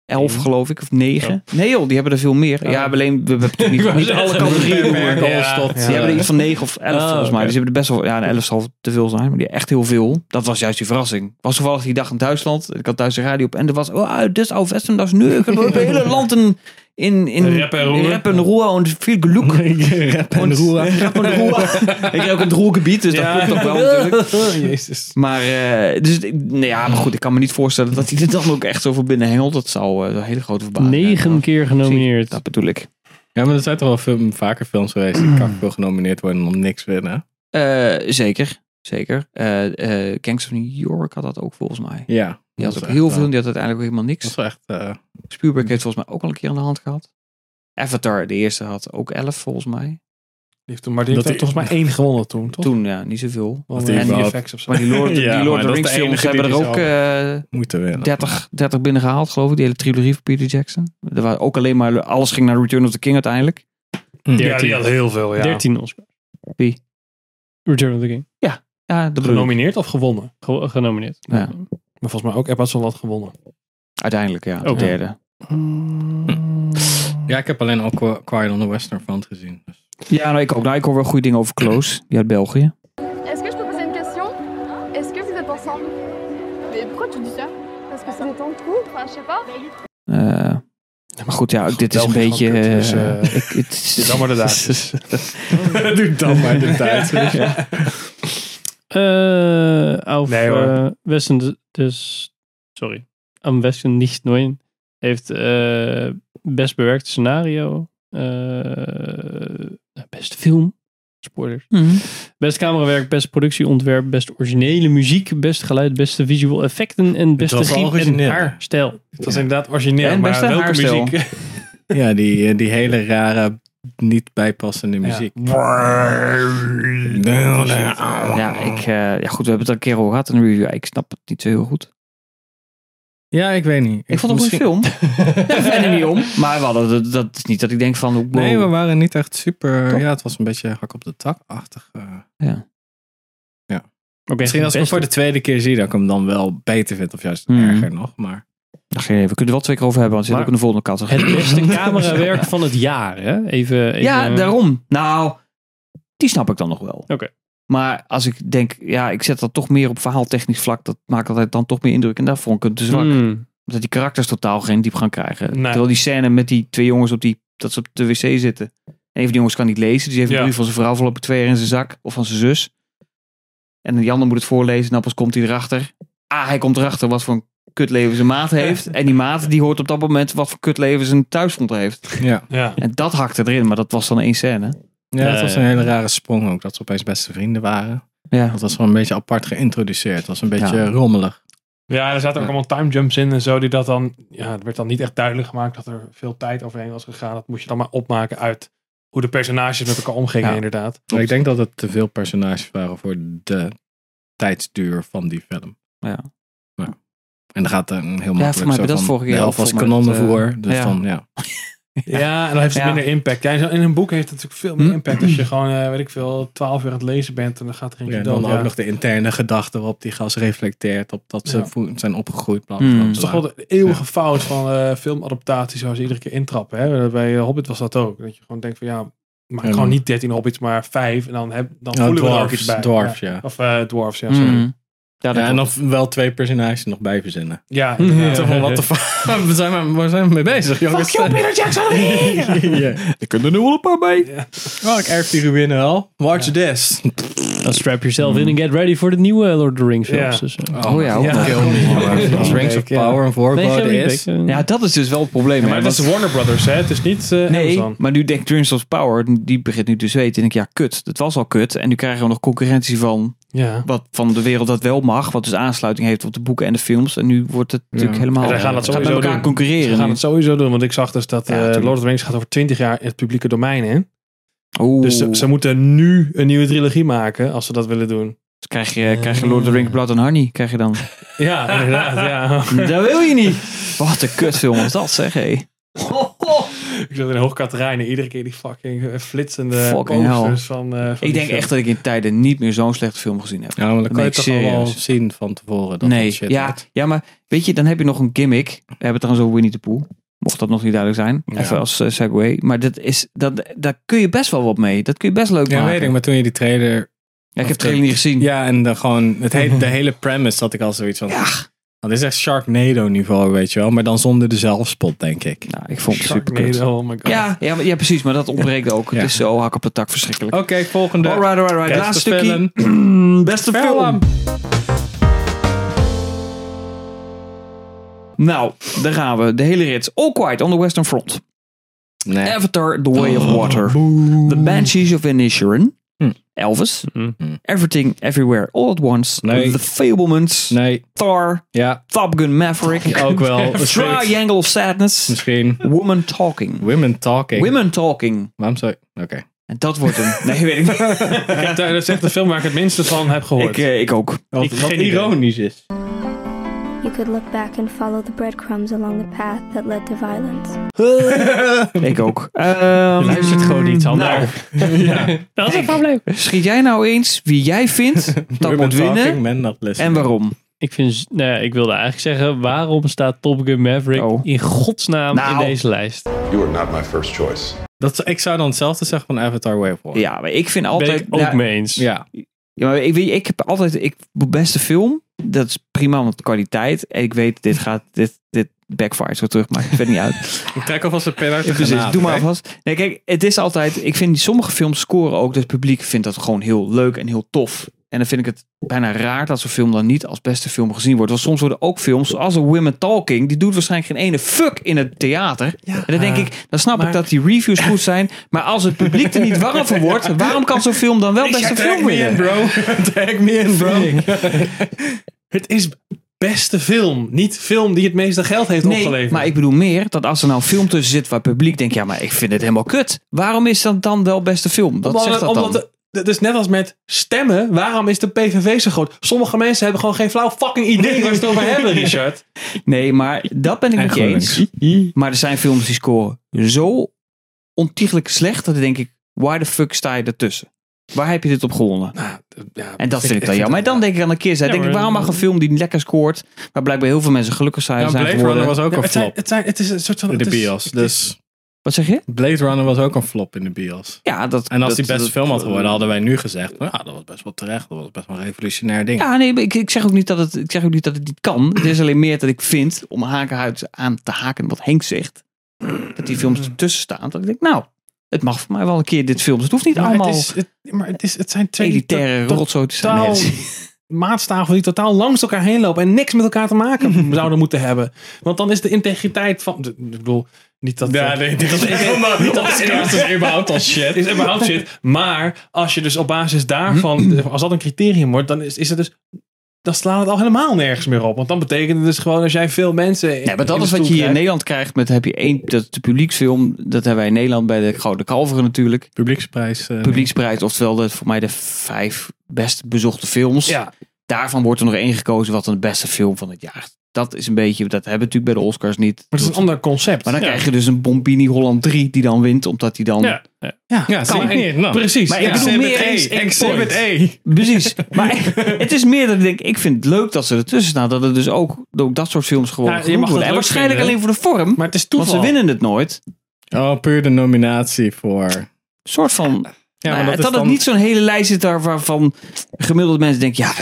Elf,
Eén.
geloof ik, of negen. Nee joh, die hebben er veel meer. Ja, alleen we hebben toch niet, niet alle categorieën.
beperken
door.
ons tot,
Die
eh,
hebben er iets van negen of elf,
Oh,
volgens mij.
oké.
Dus die hebben er best wel... Ja, een elf zal te veel zijn, maar die echt heel veel. Dat was juist die verrassing. Was toevallig die dag in Duitsland. Ik had thuis de radio op en er was... Oh, dit is al Westen, dat is nu. Ik heb het hele land in... In, in
Rep en roer.
Rep en roer en veel geluk.
Rap en roer.
Rep en roer. Ik heb ook het roergebied, dus dat klopt ook wel natuurlijk.
Jezus.
Maar, eh, dus, ik- nou ja, maar goed, ik kan me niet voorstellen dat hij er dan ook echt zoveel binnen hengelt. Dat zou eh, een hele grote verbazing zijn.
Negen keer genomineerd.
Dat bedoel ik.
Ja, maar er zijn toch wel film, vaker films geweest die kakkel genomineerd worden en om niks winnen.
Eh, zeker, zeker. Eh eh Gangs of New York had dat ook volgens mij.
Ja.
Die had
Dat
ook
is
heel
echt,
veel,
eh,
die had uiteindelijk ook helemaal
Dat is
niks.
wel echt... eh,
Spielberg heeft volgens mij ook al een keer aan de hand gehad. Avatar, de eerste, had ook elf volgens mij.
Die heeft toen, maar die heeft
Dat-
toch volgens mij één gewonnen toen, toch?
Toen, ja, niet zoveel.
Wel
die
een
überhaupt-
VFX of zo.
Maar die Lord,
Ja,
die Lord
maar
of the
dat is
Rings
de
films
enige
hebben er
die die
ook
ze
eh
moeten winnen.
30, 30 binnen gehaald, geloof ik. Die hele trilogie van Peter Jackson. Er waren ook alleen maar, alles ging naar Return of the King uiteindelijk.
Hm.
Ja, die had heel veel, ja.
13 Oscars.
Wie?
Return of the King.
Ja, de bedoel ik.
Genomineerd of gewonnen?
Ge- genomineerd.
Ja.
eh, Maar volgens mij ook Eppa's al wat gewonnen.
Uiteindelijk, ja. De
Ook.
derde.
Ja, ik heb alleen al Qu- Quiet on the Western Front gezien. Dus.
Ja, nou, ik ook. Nou, ik hoor wel goede dingen over Kloos. Die uit België.
Est-ce que je peux poser une question Est-ce que vous êtes ensemble Mais pourquoi tu dis ça Parce que ça me tente couple, enfin, je sais pas.
Eh, maar goed, ja, ook dit is een
België
beetje...
gewoon kut, dus,
eh,
eh,
ik- het is-
dan maar de Duitsers. Doe
Dan maar de tijd.
Eh, auf
Nee, hoor.
eh, Westen dus sorry, am Westen nicht neuen heeft eh, best bewerkt scenario, eh, best film, spoilers,
Mhm.
best camerawerk, best productieontwerp, best originele muziek, best geluid, beste visual effecten en beste
was
griep en
origineel.
haarstijl.
Het was inderdaad origineel,
En
maar
beste
welke
haarstel.
muziek?
Ja, die, eh, die hele rare, niet bijpassende muziek.
Ja, ik, eh, ja, goed, we hebben het al een keer over gehad in de review. Ik snap het niet zo heel goed.
Ja, ik weet niet.
Ik vond het een
Misschien-
goede film. Ja, ik ben er niet om. Maar we hadden, dat, dat is niet dat ik denk van... oh, wow.
Nee, we waren niet echt super.
Toch?
Ja, het was een beetje hak op de tak-achtig. eh.
Oké,
Misschien als ik hem
beste-
voor de tweede keer zie, dat ik hem dan wel beter vind. Of juist
Mhm.
erger nog. Maar
Ach, geen idee, we kunnen er wel twee keer over hebben, want het zit ook
Maar-
in de volgende categorie.
het beste camerawerk van het jaar, hè? Even, even
Ja, daarom. Nou, die snap ik dan nog wel.
Oké.
Maar als ik denk, ja, ik zet dat toch meer op verhaaltechnisch vlak, dat maakt altijd dan toch meer indruk. En daar vond ik het dus te zwak.
Hmm.
Omdat die karakters totaal geen diepgang krijgen.
Nee.
Terwijl die scène met die twee jongens op die, dat ze op de wc zitten. En een van die jongens kan niet lezen, dus die heeft een
Ja.
brief van zijn vrouw op twee jaar in zijn zak. Of van zijn zus. En die ander moet het voorlezen en dan pas komt hij erachter. Ah, hij komt erachter wat voor een kutleven zijn maat heeft. En die maat die hoort op dat moment wat voor kutleven zijn thuisgrond heeft.
ja.
Ja.
En dat hakte erin, maar dat was dan één scène.
ja,
Ja,
het was
ja.
een hele rare sprong ook. Dat ze opeens beste vrienden waren.
Ja.
Dat was gewoon een beetje apart geïntroduceerd. Het was een beetje
Ja.
rommelig.
Ja, er zaten ook
Ja.
allemaal time jumps in en zo. Die dat dan, ja, het werd dan niet echt duidelijk gemaakt dat er veel tijd overheen was gegaan. Dat moest je dan maar opmaken uit hoe de personages met elkaar omgingen,
Ja.
inderdaad.
Maar ik denk dat het te veel personages waren voor de tijdsduur van die film.
Ja.
Ja. En dan gaat er een heel makkelijk
voor mij
zo
heb je dat
van,
vorige
De
keer
helft
ook,
was
volgens mij, dat,
kanonnenvoer.
eh,
dus
ja.
van, ja.
Ja, en dan heeft het
Ja.
minder impact. Ja, in een boek heeft het natuurlijk veel meer
Hm?
impact als je gewoon, eh, weet ik veel, twaalf uur aan het lezen bent en dan gaat er
Ja,
eentje
en
dood.
dan
ja.
ook nog de interne gedachten waarop die gast reflecteert. Op dat ze
Ja.
vo- zijn opgegroeid. Bla,
Hmm.
bla, bla,
Dat
Dat is toch wel de eeuwige fout van eh, filmadaptaties waar ze iedere keer intrappen. Hè? Bij Hobbit was dat ook. Dat je gewoon denkt van ja, maak
Ja.
gewoon niet 13 Hobbits, maar 5. En dan, heb, dan
Ja,
voelen we er ook
dwarfs,
iets bij.
dwarfs, Hm.
Ja.
ja.
Of eh, dwarfs, ja,
Mm.
sorry.
Ja, dat
Ja, en
klopt.
dan wel twee personages nog bij verzinnen.
Ja,
Zo van, what the fuck? We zijn maar, waar zijn we mee bezig, jongens?
Fuck you, Peter Jackson!
ja.
Er kunnen er nu wel een paar bij.
Oh, ik erf die ruïne al. Watch this.
Dan strap yourself in and get ready voor de nieuwe Lord of the Rings films.
Ja.
Dus, eh.
Oh ja, ook
Ja.
nog.
Kill me.
Ja.
Als Rings of
Ja.
Power een
Nee, geen
voorbode is.
Wiebeke.
Ja, dat is dus wel het probleem.
Ja,
hè,
maar dat is
want-
Warner Brothers, hè? Het is niet eh
Nee,
Amazon.
maar nu denkt Turns of Power, die begint nu te zweten. En ik denk, ja, kut. Dat was al kut. En nu krijgen we nog concurrentie van,
Ja.
wat, van de wereld dat wel mag. Wat dus aansluiting heeft op de boeken en de films. En nu wordt het natuurlijk helemaal...
En zij gaan
het
dat
gaat met
sowieso
elkaar
doen.
concurreren.
Ze gaan
nu.
het sowieso doen, want ik zag dus dat
Ja,
eh,
tuurlijk.
Lord of the Rings gaat over 20 jaar in het publieke domein in.
Oeh.
Dus ze, ze moeten nu een nieuwe trilogie maken als ze dat willen doen.
Dus krijg je, krijg je Lord of the Rings Blood and Honey, krijg je dan.
Ja, inderdaad. ja.
dat wil je niet. Wat een kutfilm was dat, zeg hé.
Ik zat in Hoogkaterijnen, iedere keer die fucking eh, flitsende
Fucking
posters van, eh, van die
Ik denk
film.
echt dat ik in tijden niet meer zo'n slechte film gezien heb.
Ja, maar dan kan
Nee,
je toch allemaal
serieus.
zien van tevoren dat
nee,
dat shit
ja,
wordt.
ja, maar weet je, dan heb je nog een gimmick. We hebben trouwens over Winnie de Pooh. Mocht dat nog niet duidelijk zijn. Even als eh, segue. Maar dat is, dat, daar kun je best wel wat mee. Dat kun je best leuk
Ja,
maken.
weet ik. Maar toen je die trailer...
Ja, ik heb
Of
het trailer niet gezien.
Ja, en dan gewoon... Het hele, de hele premise had ik al zoiets van... Dat is echt Sharknado niveau, weet je wel. Maar dan zonder de zelfspot, denk ik.
Nou, ik vond het super
Sharknado,
kut.
oh my god.
Ja, ja, maar- ja, precies. Maar dat ontbreekt ook.
Ja.
Het is zo hak op de tak verschrikkelijk.
Oké, volgende.
Alright, alright, alright.
Beste
Laatste stukje. Beste film.
Film.
Nou, daar gaan we. De hele rits. All Quiet on the Western Front.
Nee.
Avatar, The Way of Water. The Banshees of Inisherin.
Hmm.
Elvis.
Mm.
Everything, Everywhere, All at Once.
Nee.
The Fablemans.
Nee.
Thor.
Ja,
Top Gun Maverick.
Oh,
ook wel. Misschien.
Triangle of Sadness.
Misschien.
Woman Talking.
Women talking.
Women Talking.
Waarom zou Oké.
En dat wordt hem. Nee, weet ik niet.
Kijk, daar- dat is echt de film waar ik het minste van heb
Ik,
gehoord.
eh, ik ook.
Wat, wat ironisch is.
You could look back and follow the breadcrumbs along the path that led to violence.
Ik ook.
Je luistert gewoon niet, Sander.
Nou,
Dat is een probleem.
schiet jij nou eens wie jij vindt dat
Women
moet winnen
talking, men not listening.
en waarom?
Ik, vind, nou ja, ik wilde eigenlijk zeggen, waarom staat Top Gun Maverick
Oh.
in godsnaam
Nou.
in deze lijst?
You are not my first choice.
Dat, zou- ik zou dan hetzelfde zeggen van Avatar Way of Water.
Ja, maar ik vind
Ben
altijd...
ik ook
ja,
mee eens.
Ja.
Ja, maar ik, weet, ik heb altijd... Ik, beste film, dat is prima, want kwaliteit. En ik weet, dit gaat... Dit, dit backfire zo terug, maar het vet niet uit.
Ik trek alvast een pen uit de
Precies,
granaat,
doe maar
hè.
alvast. Nee, kijk, het is altijd... Ik vind sommige films scoren ook. Dus het publiek vindt dat gewoon heel leuk en heel tof. En dan vind ik het bijna raar dat zo'n film dan niet als beste film gezien wordt. Want soms worden ook films, zoals een Women Talking, die doet waarschijnlijk geen ene fuck in het theater. en dan denk ik, dan snap ik
maar-
dat die reviews goed zijn. Maar als het publiek er niet warm voor wordt, waarom kan zo'n film dan wel beste film winnen?
bro. Tag me in, bro.
Het is beste film. Niet film die het meeste geld heeft
Nee,
opgeleverd.
maar ik bedoel meer dat als er nou een film tussen zit waar het publiek denkt, ja, maar ik vind het helemaal kut. Waarom is dat dan wel beste film? Dat
Omdat-
zegt dat
omdat
dan.
de- het is net als met stemmen. Waarom is de PVV zo groot? Sommige mensen hebben gewoon geen flauw fucking idee waar ze het over hebben, Richard.
Nee, maar dat ben ik
En
met je eens. Maar er zijn films die scoren zo ontiegelijk slecht dat dan denk ik, waar de fuck sta je ertussen? Waar heb je dit op gewonnen? En dat vind ik dan jammer. Maar dan denk ik aan de keer.
Ja,
denk ik,
maar-
waarom mag een film die lekker scoort, maar blijkbaar heel veel mensen gelukkig zijn,
Ja,
zijn
Blade
geworden.
Runner was ook
Ja, maar
een
het, zijn,
flop
het, zijn, het is een soort van...
in de
het is-
bios.
het is-
Dus
Wat zeg je?
Blade Runner was ook een flop in de bios.
Ja, dat.
En als
dat-
die beste
dat-
film had geworden, hadden wij nu gezegd... Nou, dat was best wel terecht. Dat was best wel een revolutionair ding.
Ja, nee, maar ik, ik, zeg ook niet dat het, ik zeg ook niet dat het niet kan. Het is alleen meer dat ik vind, om haken uit- aan te haken wat Henk zegt, dat die films ertussen staan. Dat ik denk, nou, het mag voor mij wel een keer dit films. Het hoeft niet
maar
allemaal
Het, is, het- maar het, is, het zijn twee...
elitaire
to- to-
rotzooi te zijn.
totaal
Nee,
maatstaven die totaal langs elkaar heen lopen en niks met elkaar te maken zouden moeten hebben. Want dan is de integriteit van. de- Ik bedoel, niet dat. eh,
nee, dit
dat-
Niet dat Oscars is überhaupt al shit.
is überhaupt shit. Maar als je dus op basis daarvan, als dat een criterium wordt, dan is, is het dus dan slaat het al helemaal nergens meer op. Want dan betekent het dus gewoon als jij veel mensen.
Nee, maar dat is wat je hier in Nederland krijgt met heb je één dat de publieksfilm dat hebben wij in Nederland bij de Gouden Kalveren natuurlijk.
Publieksprijs. eh,
publieksprijs, oftewel de, voor mij de vijf best bezochte films.
Ja.
Daarvan wordt er nog één gekozen wat dan de beste film van het jaar. Dat is een beetje dat hebben we natuurlijk bij de Oscars niet.
Maar het is een ander concept.
Maar dan krijg je dus een Bombini Holland 3 die dan wint, omdat die dan.
Ja.
Ja,
zie je. Nee, nou.
Precies. Maar ik
Ja.
bedoel
Exhibit
meer
A,
eens één
exhibit
point.
A.
Precies. Maar het is meer dat ik denk, ik vind het leuk dat ze ertussen staan. Dat het dus ook, ook dat soort films gewoon
Ja, je
genoemd
mag dat
worden. En
leuk
waarschijnlijk
vinden.
alleen voor de vorm.
Maar het is
Want ze
toeval.
winnen het nooit.
Oh, puur de nominatie voor.
soort van...
Ja,
Nou
maar
ja,
dat
het
is
had
dan-
het niet zo'n hele lijst zit daar waarvan gemiddeld mensen denken, ja,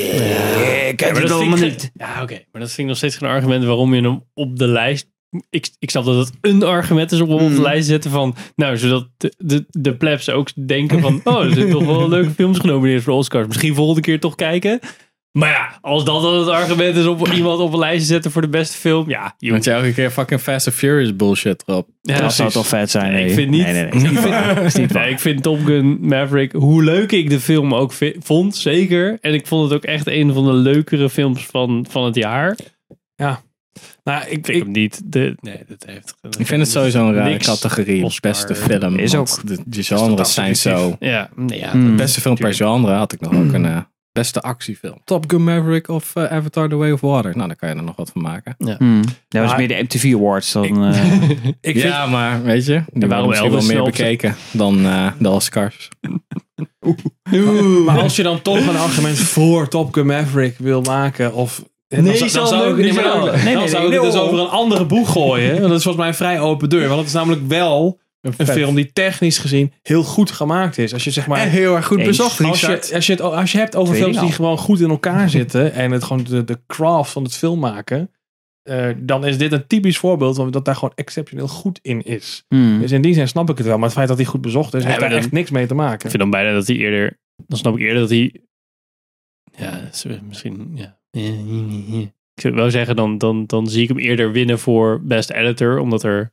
eh, ik heb
maar
het
dat vind
allemaal
ik-
niet.
Ja, oké. Maar dat vind ik nog steeds geen argument waarom je hem op de lijst... Ik, ik snap dat het een argument is om hem op
Mm.
de lijst te zetten van... Nou, zodat de, de, de plebs ook denken van... Oh, er zijn toch wel leuke films genomineerd voor de Oscars. Misschien volgende keer toch kijken. Maar ja, als dat dan het argument is om iemand op een lijst te zetten voor de beste film... Ja,
Je moet je elke keer fucking Fast and Furious bullshit erop.
Ja,
dat zou toch vet zijn.
Nee,
nee.
ik vind niet.
Nee, nee, nee, is niet waar. Is niet waar.
Nee, ik vind Top Gun Maverick, hoe leuk ik de film ook vi- vond, zeker. En ik vond het ook echt een van de leukere films van, van het jaar.
Ja. Nou, ik,
vind hem niet. De, nee, dat heeft.
Ik vind het sowieso een rare
Niks
categorie.
Oscar.
Beste film.
Is
want
ook.
De, die genres zijn zo.
Ja, nee, ja
Hmm.
dat-
Beste film per genre had ik nog ook een eh, beste actiefilm. Top Gun Maverick of eh, Avatar The Way of Water. Nou, daar kan je er nog wat van maken.
Ja.
Hmm. Nou, dat is
Maar-
meer de MTV Awards dan... eh,
Ik
ja, maar weet je, die
waarom
waren misschien wel
Elvis
meer
snel op-
bekeken dan eh, de Oscars.
Maar als je dan toch een argument voor Top Gun Maverick wil maken, of...
Nee,
zou-
Sander,
zou ik,
niet
maar dan-
zo.
dan
Nee,
zou
nee, nee,
ik het
nee,
dus
hoor.
over een andere boeg gooien. Want dat is volgens mij een vrij open deur. Want het is namelijk wel een, film die technisch gezien heel goed gemaakt is. Als je zeg maar...
En heel erg goed
Eens.
bezocht,
als
Richard.
je, als, je het, als je hebt over
Tweede
films die
naam.
gewoon goed in elkaar zitten en het gewoon de, de craft van het film maken, eh, dan is dit een typisch voorbeeld van dat daar gewoon exceptioneel goed in is.
hmm.
Dus in die zin snap ik het wel, maar het feit dat hij goed bezocht is, heeft
maar
daar
dan-
echt niks mee te maken.
Ik vind dan bijna dat hij eerder. Dan snap ik eerder dat hij. Ja, dat is misschien. Ja. Ik zou wel zeggen, dan, dan, dan zie ik hem eerder winnen voor Best Editor. Omdat er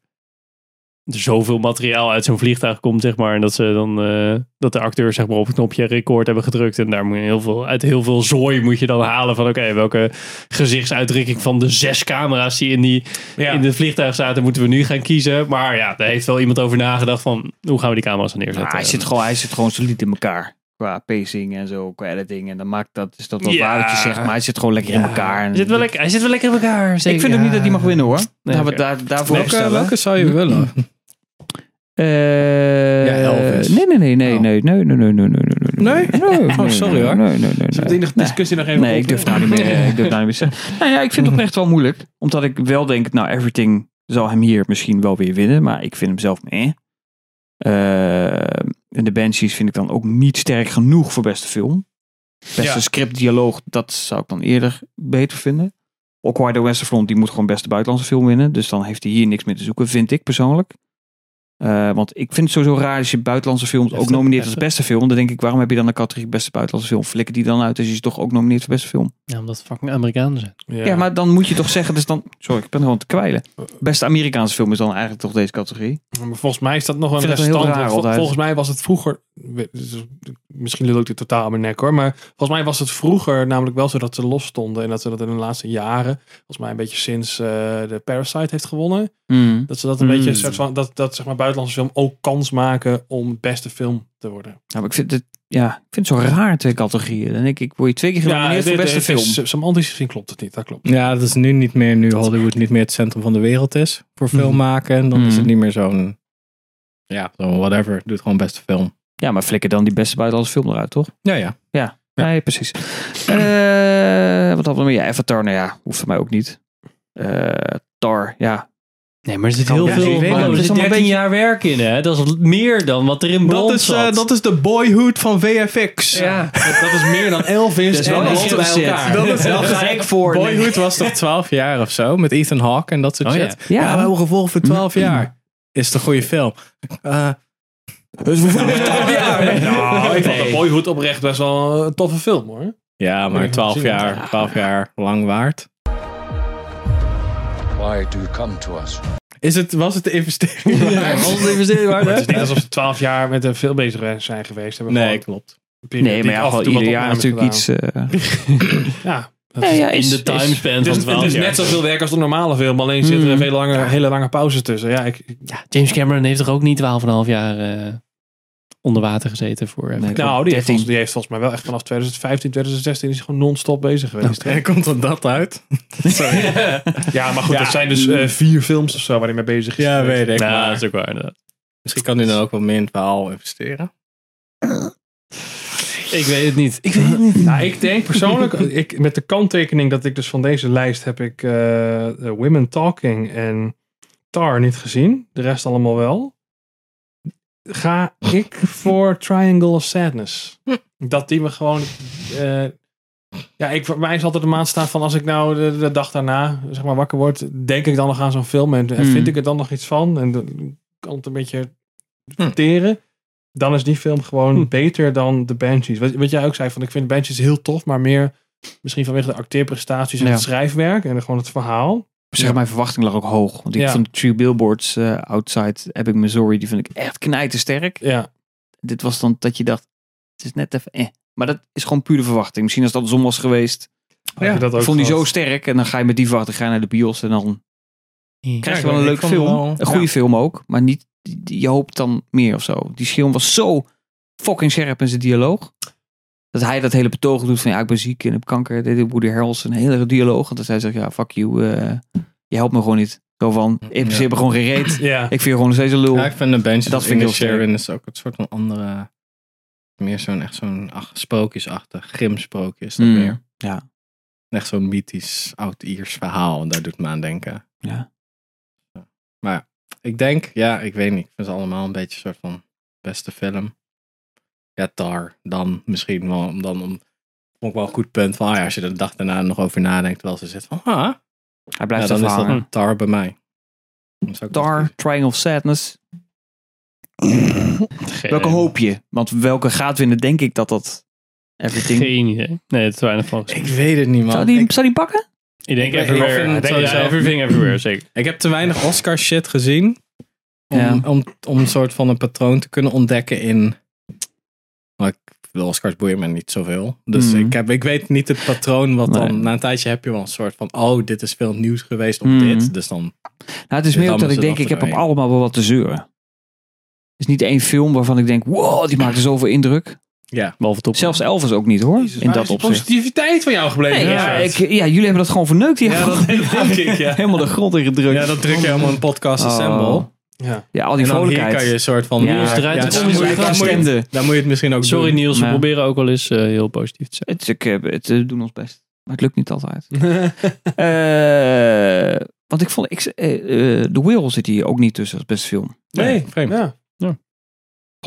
zoveel materiaal uit zo'n vliegtuig komt, zeg maar. En dat, ze dan, eh, dat de acteurs zeg maar, op het knopje record hebben gedrukt. En daar moet je heel veel, uit heel veel zooi moet je dan halen van... Oké, welke gezichtsuitdrukking van de zes camera's die in die
Ja.
in het vliegtuig zaten... moeten we nu gaan kiezen. Maar ja, daar heeft wel iemand over nagedacht van... Hoe gaan we die camera's dan neerzetten?
Maar Ah, hij, zit
En-
gewoon, hij zit gewoon solide in elkaar. Qua pacing en zo, qua editing. En dan maakt dat, is dat wel
Ja.
waar wat je zegt. Maar hij zit gewoon lekker in elkaar. En
Hij zit wel lekker, hij zit wel lekker in elkaar.
ik vind ook niet dat hij mag winnen hoor.
Nee,
Laten we
oké.
daar, daarvoor
welke,
opstellen.
welke zou je willen?
Eh,
Ja, Elvis.
Nee, nee, nee, nee,
Oh.
nee, nee, nee, nee, nee, nee, nee,
Nee?
nee,
Oh, sorry, hoor.
Nee, nee, nee, nee.
Zullen we die
Nee.
discussie nog even
Nee, ik
openen?
durf nou niet meer. eh, Ik durf nou niet meer. te zeggen. Nou ja, ik vind het oprecht wel moeilijk. Omdat ik wel denk, nou, everything zal hem hier misschien wel weer winnen. Maar ik vind hem zelf Eh, mee. en de Banshees vind ik dan ook niet sterk genoeg voor beste film. Beste
Ja.
script, dialoog, dat zou ik dan eerder beter vinden. Ook Wide Westerfront, die moet gewoon beste buitenlandse film winnen. Dus dan heeft hij hier niks meer te zoeken, vind ik persoonlijk. Eh, want ik vind het sowieso raar als je buitenlandse films ook
Heftig,
nomineert als
heftig.
beste film. Dan denk ik, waarom heb je dan een categorie beste buitenlandse film? Flikker die dan uit als je ze toch ook nomineert voor beste film?
Ja, omdat het fucking Amerikanen zijn.
Ja. maar dan moet je toch zeggen, dus dan... Sorry, ik ben gewoon te kwijlen. Beste Amerikaanse film is dan eigenlijk toch deze categorie?
Maar volgens mij is dat nog
Ik
een
vind dat heel
restant.
raar
vol-
altijd.
volgens mij was het vroeger. we- dus- Misschien lul ik dit totaal aan mijn nek hoor. Maar volgens mij was het vroeger namelijk wel zo dat ze los stonden. En dat ze dat in de laatste jaren. Volgens mij een beetje sinds eh, de Parasite heeft gewonnen. Dat ze dat een
Hmm.
Mm.
beetje. een soort van- dat, dat zeg maar buitenlandse film ook kans maken om beste film te worden.
Nou, maar ik vind het... Ja, ik vind het zo raar, twee categorieën. Dan denk ik, word je twee keer genomineerd voor beste film.
is- semantisch gezien klopt het niet. Dat klopt.
Ja, dat is nu niet meer, nu Hollywood niet meer het centrum van de wereld is voor film maken. Dan is het
Mhm.
niet meer zo'n, ja, zo'n whatever. Doe het gewoon beste film.
Ja, maar flikker dan die beste buitenlandse film eruit, toch?
Ja, ja.
Nee, precies. Eh, wat hadden we meer? Ja, Avatar, nou ja, hoeft voor mij ook niet. Eh, Tar, ja.
Nee, maar er zit
Kan
heel
best
veel...
niet winnen.
Oh,
Het
er
is
zit 13
allemaal een beetje-
jaar werk in, hè? Dat is meer dan wat er in
Dat
Blond
is,
eh,
zat.
dat is de boyhood van VFX.
Ja.
Dat, dat is meer dan Elvis.
is wel
en
een
Blond bij
shit.
elkaar.
Dat is wel
Ja.
gek voor.
Boyhood was toch 12 jaar of zo? Met Ethan Hawke en dat soort
Oh, ja.
shit. Mm-hmm.
Ja.
we hebben gevolg voor 12 jaar. Is het een goede film? Eh, dus
Nou, ik vond
Nee.
de Boyhood oprecht best wel een toffe film hoor.
ja, maar 12
gezien.
jaar, 12 jaar lang waard.
Why do you come to us?
Is het, was het de investering? waard?
Het is niet alsof ze twaalf jaar met een film bezig zijn geweest. Hebben
Nee,
gewoon-
klopt.
periode
nee,
die
maar
ik
ja,
af
gewoon
en toe wat
ieder jaar
opnames
natuurlijk iets... eh,
gedaan. ja.
Ja, ja, is- In de is- timespan
Het is-
van 12
Het is
jaar.
net zoveel werk als de normale film, alleen zitten er veel lange, hele lange pauzes tussen. Ja, ik,
James Cameron heeft toch ook niet 12,5 jaar eh, onder water gezeten voor... eh, voor-
nou, die heeft, volgens, die heeft volgens mij wel echt vanaf 2015, 2016 is hij gewoon non-stop bezig geweest.
En komt dan dat uit? Sorry.
Ja, maar goed, dat zijn dus eh, vier films of zo waar hij mee bezig is.
Ja, weet ik.
Ja,
maar
dat is ook waar inderdaad.
Misschien kan hij dan ook wel meer in het verhaal investeren.
Ik weet het niet. Ik
Nou, ik denk persoonlijk, eh, ik, met de kanttekening dat ik dus van deze lijst heb ik eh, eh, Women Talking en Tar niet gezien. De rest allemaal wel. Ga ik voor Triangle of Sadness. Dat die me gewoon... eh, ja, ik, voor mij is altijd de maatstaaf van als ik nou de, de dag daarna zeg maar, wakker word, denk ik dan nog aan zo'n film en, en
Mm.
vind ik er dan nog iets van en dan kan het een beetje Hm. verteren dan is die film gewoon beter dan de Banshees. Wat, wat jij ook zei, van ik vind Banshees heel tof, maar meer misschien vanwege de acteerprestaties en
Ja.
het schrijfwerk en gewoon het verhaal.
Zeg, mijn verwachting lag ook hoog. Want ik
Ja.
vond True Billboards eh, Outside Ebbing, Missouri, die vind ik echt knijtersterk.
Ja.
Dit was dan dat je dacht, het is net even eh. Maar dat is gewoon puur de verwachting. Misschien als dat zon was geweest,
Had je dat ook
ik vond die
gehad?
zo sterk. En dan ga je met die verwachting ga je naar de bios en dan krijg je
Ja,
wel een
ik
leuk
vond het
film.
wel-
Een goede
Ja.
film ook, maar niet, die- die- je hoopt dan meer of zo. Die film was zo fucking scherp in zijn dialoog. Dat hij dat hele betoog doet van ja, ik ben ziek en heb kanker. Dit is Woody Harrelson, een hele dialoog. En dat hij zegt ja, fuck you, eh, je helpt me gewoon niet. Zo van, in principe heb ik gewoon geen reet.
Ja.
Ik vind je gewoon nog steeds een lul.
Ja, ik vind de Bench
Dat
dat
vind ik heel
vind
sterk.
Sharon is ook een soort van andere, meer zo'n echt zo'n ach, sprookjesachtig, grim sprookje is dat
Mm,
meer.
Ja.
Echt zo'n mythisch oud-Iers verhaal en daar doet me aan denken.
Ja.
Maar ik denk, ja, ik weet niet, ik vind ze allemaal een beetje een soort van beste film. Ja, Tar, dan misschien wel, om- dan om, vond ik wel een goed punt van, ah ja, als je er de dag daarna nog over nadenkt, terwijl ze zit van, ah,
Hij
ja,
blijft
dan is
ervaren.
dat Tar bij mij. Dan zou ik dat
Tar, Triangle of Sadness. Welke hoop je? Want welke gaat winnen, denk ik dat dat everything...
Geen idee. Nee, het is weinig van.
Ik weet het niet, man.
Zou die,
Ik-
zou die pakken?
Ik
Ik-
denk
ik
everywhere.
vind het
Ik denk,
sowieso-
ja, everything everywhere, zeker.
Ik heb te weinig Oscar shit gezien. Om,
Ja.
om, om een soort van een patroon te kunnen ontdekken in. Maar ik, de Oscars boeien me niet zoveel. Dus
Mhm.
ik, heb, ik weet niet het patroon wat
Nee.
dan. Na een tijdje heb je wel een soort van. Oh, dit is veel nieuws geweest op
Mhm.
dit. Dus dan.
Nou, het is
Dit
meer ook dat
allemaal
ik denk,
zit
ik heb op
achtereen.
allemaal wel wat te zeuren. Het is niet één film waarvan ik denk, wow, die maakte zoveel indruk.
Ja.
Behalve top.
Zelfs Elvis ook niet hoor, in
Waar is
dat
die
opzicht.
positiviteit van jou gebleven.
Nee, ja,
Ja,
ik, ja, jullie hebben dat gewoon verneukt hier.
Ja, dat denk ik, ja.
Helemaal de grond in gedrukt.
Ja, dat druk je helemaal een podcast
Oh.
assemble.
Ja.
Ja, al die
En dan hier
vrolijkheid.
kan je een soort van.
Ja.
nieuws
Ja,
eruit.
ja,
dan,
ja,
moet je,
ja,
dan, moet je,
Stemde.
dan moet je het misschien ook.
Sorry
doen.
Niels, we
Nee.
proberen ook wel eens eh, heel positief te zijn.
Het, ik, eh, het, eh, we doen ons best. Maar het lukt niet altijd. Eh, want ik vond, ik, eh, eh, The Whale zit hier ook niet tussen als best film.
Nee, vreemd.
Ja.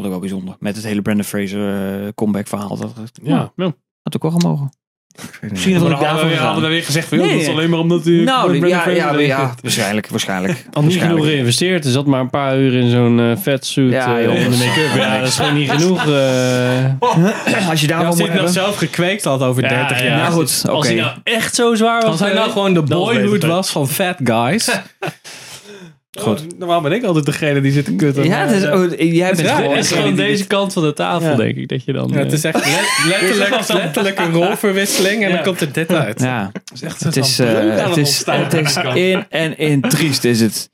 Vond ik wel bijzonder. Met het hele Brandon Fraser eh, comeback verhaal. Dat dat
Ja.
Ah,
had ook wel gemogen. Misschien
Maar
had
dan
ik daarvan
hadden we, hadden we
gegaan.
weer gezegd van, joh,
Nee,
dat is
nee.
alleen maar omdat u...
Nou,
Brandon
ja,
Fraser
ja,
erin
ja,
zit.
waarschijnlijk, waarschijnlijk.
Al niet
Waarschijnlijk.
genoeg geïnvesteerd. Er zat maar een paar uur in zo'n eh vetsuit
Ja,
eh,
joh.
in de make-up. Ja, dat is gewoon niet genoeg. eh.
Als je
Ja,
daarvan moet
Als hij het nou
hebben.
zelf gekweekt had over
Ja,
30
ja.
jaar.
Nou goed, oké.
Als hij nou echt zo zwaar was eh,
Als hij nou
geweest,
gewoon de
dan was
boyhood
beter.
was van Fat Guys.
Oh, normaal ben ik altijd degene die zit te kutten.
Ja, het is, oh, jij bent
Ja,
gewoon...
Het is gewoon
degene die
deze kant van de tafel, denk ik, dat je dan... eh,
Ja, het is echt let- letterlijk, letterlijk een rolverwisseling en
Ja.
dan komt er dit uit.
dit- Ja,
is echt
het is, eh, het is, het is in en in triest is het.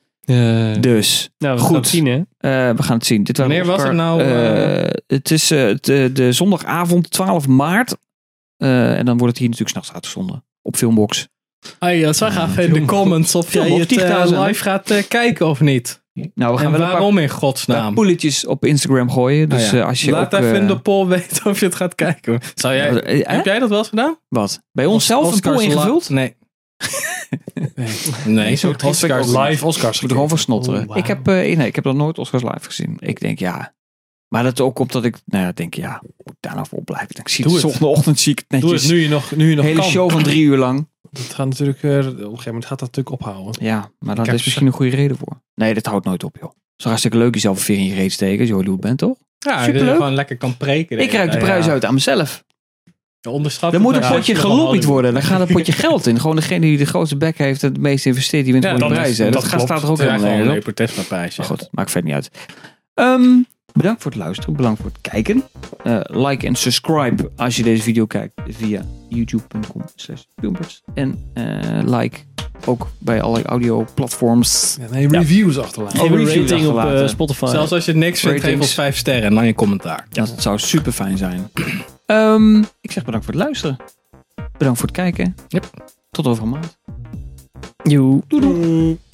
Dus,
nou, we
goed.
gaan het zien, hè?
eh, we gaan het zien. Dit waren
Wanneer was
Oscar-
het nou,
eh, het is eh, de, de zondagavond 12 maart. Eh, en dan wordt het hier natuurlijk s'nachts uitgezonden. Op Filmbox.
Ah,
Hey, eh, zeg even in de comments of
Film
jij
op
het eh,
10.000.
live gaat eh, kijken of niet.
Nou, we gaan
En
wel een paar,
waarom in
paar
godsnaam?
poeletjes op Instagram gooien. Dus
Ah, ja.
eh, als je
Laat
ook,
even in
eh,
de poll weten of je het gaat kijken. Zou jij,
eh, hè?
heb jij dat wel eens gedaan?
Wat? Bij onszelf een pool
Oscars la-
ingevuld?
Nee. nee, zo
Oscars
Oscars
ook
live.
Live Oscars.
Ik moet er gewoon van snotteren.
Oh, wauw.
ik, heb, eh, nee, ik heb nog nooit Oscars live gezien. Ik denk ja. Maar dat ook omdat ik nou, ja, denk, ja, moet ik daar nou voor blijven? Ik zie
Doe
het.
het.
Ochtend, ochtend zie ik het netjes.
Doe het nu je nog, nu je nog
Hele
kan.
show van drie uur lang.
Dat gaat natuurlijk, eh, op een gegeven moment gaat dat natuurlijk ophouden.
Ja, maar dat
heb
is
ze-
misschien een goede reden voor. Nee, dat houdt nooit op, joh. Zo hartstikke leuk jezelf weer in je reet steken als je Hollywood bent, toch?
Ja, dat je
Superleuk.
gewoon lekker kan preken.
Ik ruik de
Ja.
prijs uit aan mezelf.
Je onderschat
Dan
het
moet een
wel.
potje
Ja, als je nog
gelobbyd
hadden-
worden. Dan gaat een potje geld in. Gewoon degene die de grootste bek heeft en het meeste investeert, die wint
Ja,
gewoon de
dat
prijs.
is-
hè. Dat,
dat
gaat
klopt.
staat er ook
Het is
helemaal
gewoon
nergens
een
op.
nepotismeprijsje.
Maar goed, maakt verder niet uit. Ehm, Bedankt voor het luisteren, bedankt voor het kijken. Eh, like en subscribe als je deze video kijkt via youtube.com slash filmpers. En eh, like ook bij alle audio platforms.
Ja, nee, reviews achterlaten.
Oh,
Geef een
reviews
rating op, eh,
achterlaten.
Spotify.
Zelfs als je niks vindt, geef ons
Ratings.
vijf sterren en dan je commentaar.
Dat zou super fijn zijn. Ehm, ik zeg bedankt voor het luisteren. Bedankt voor het kijken. Tot over een maand.
Joe.
Doei doei.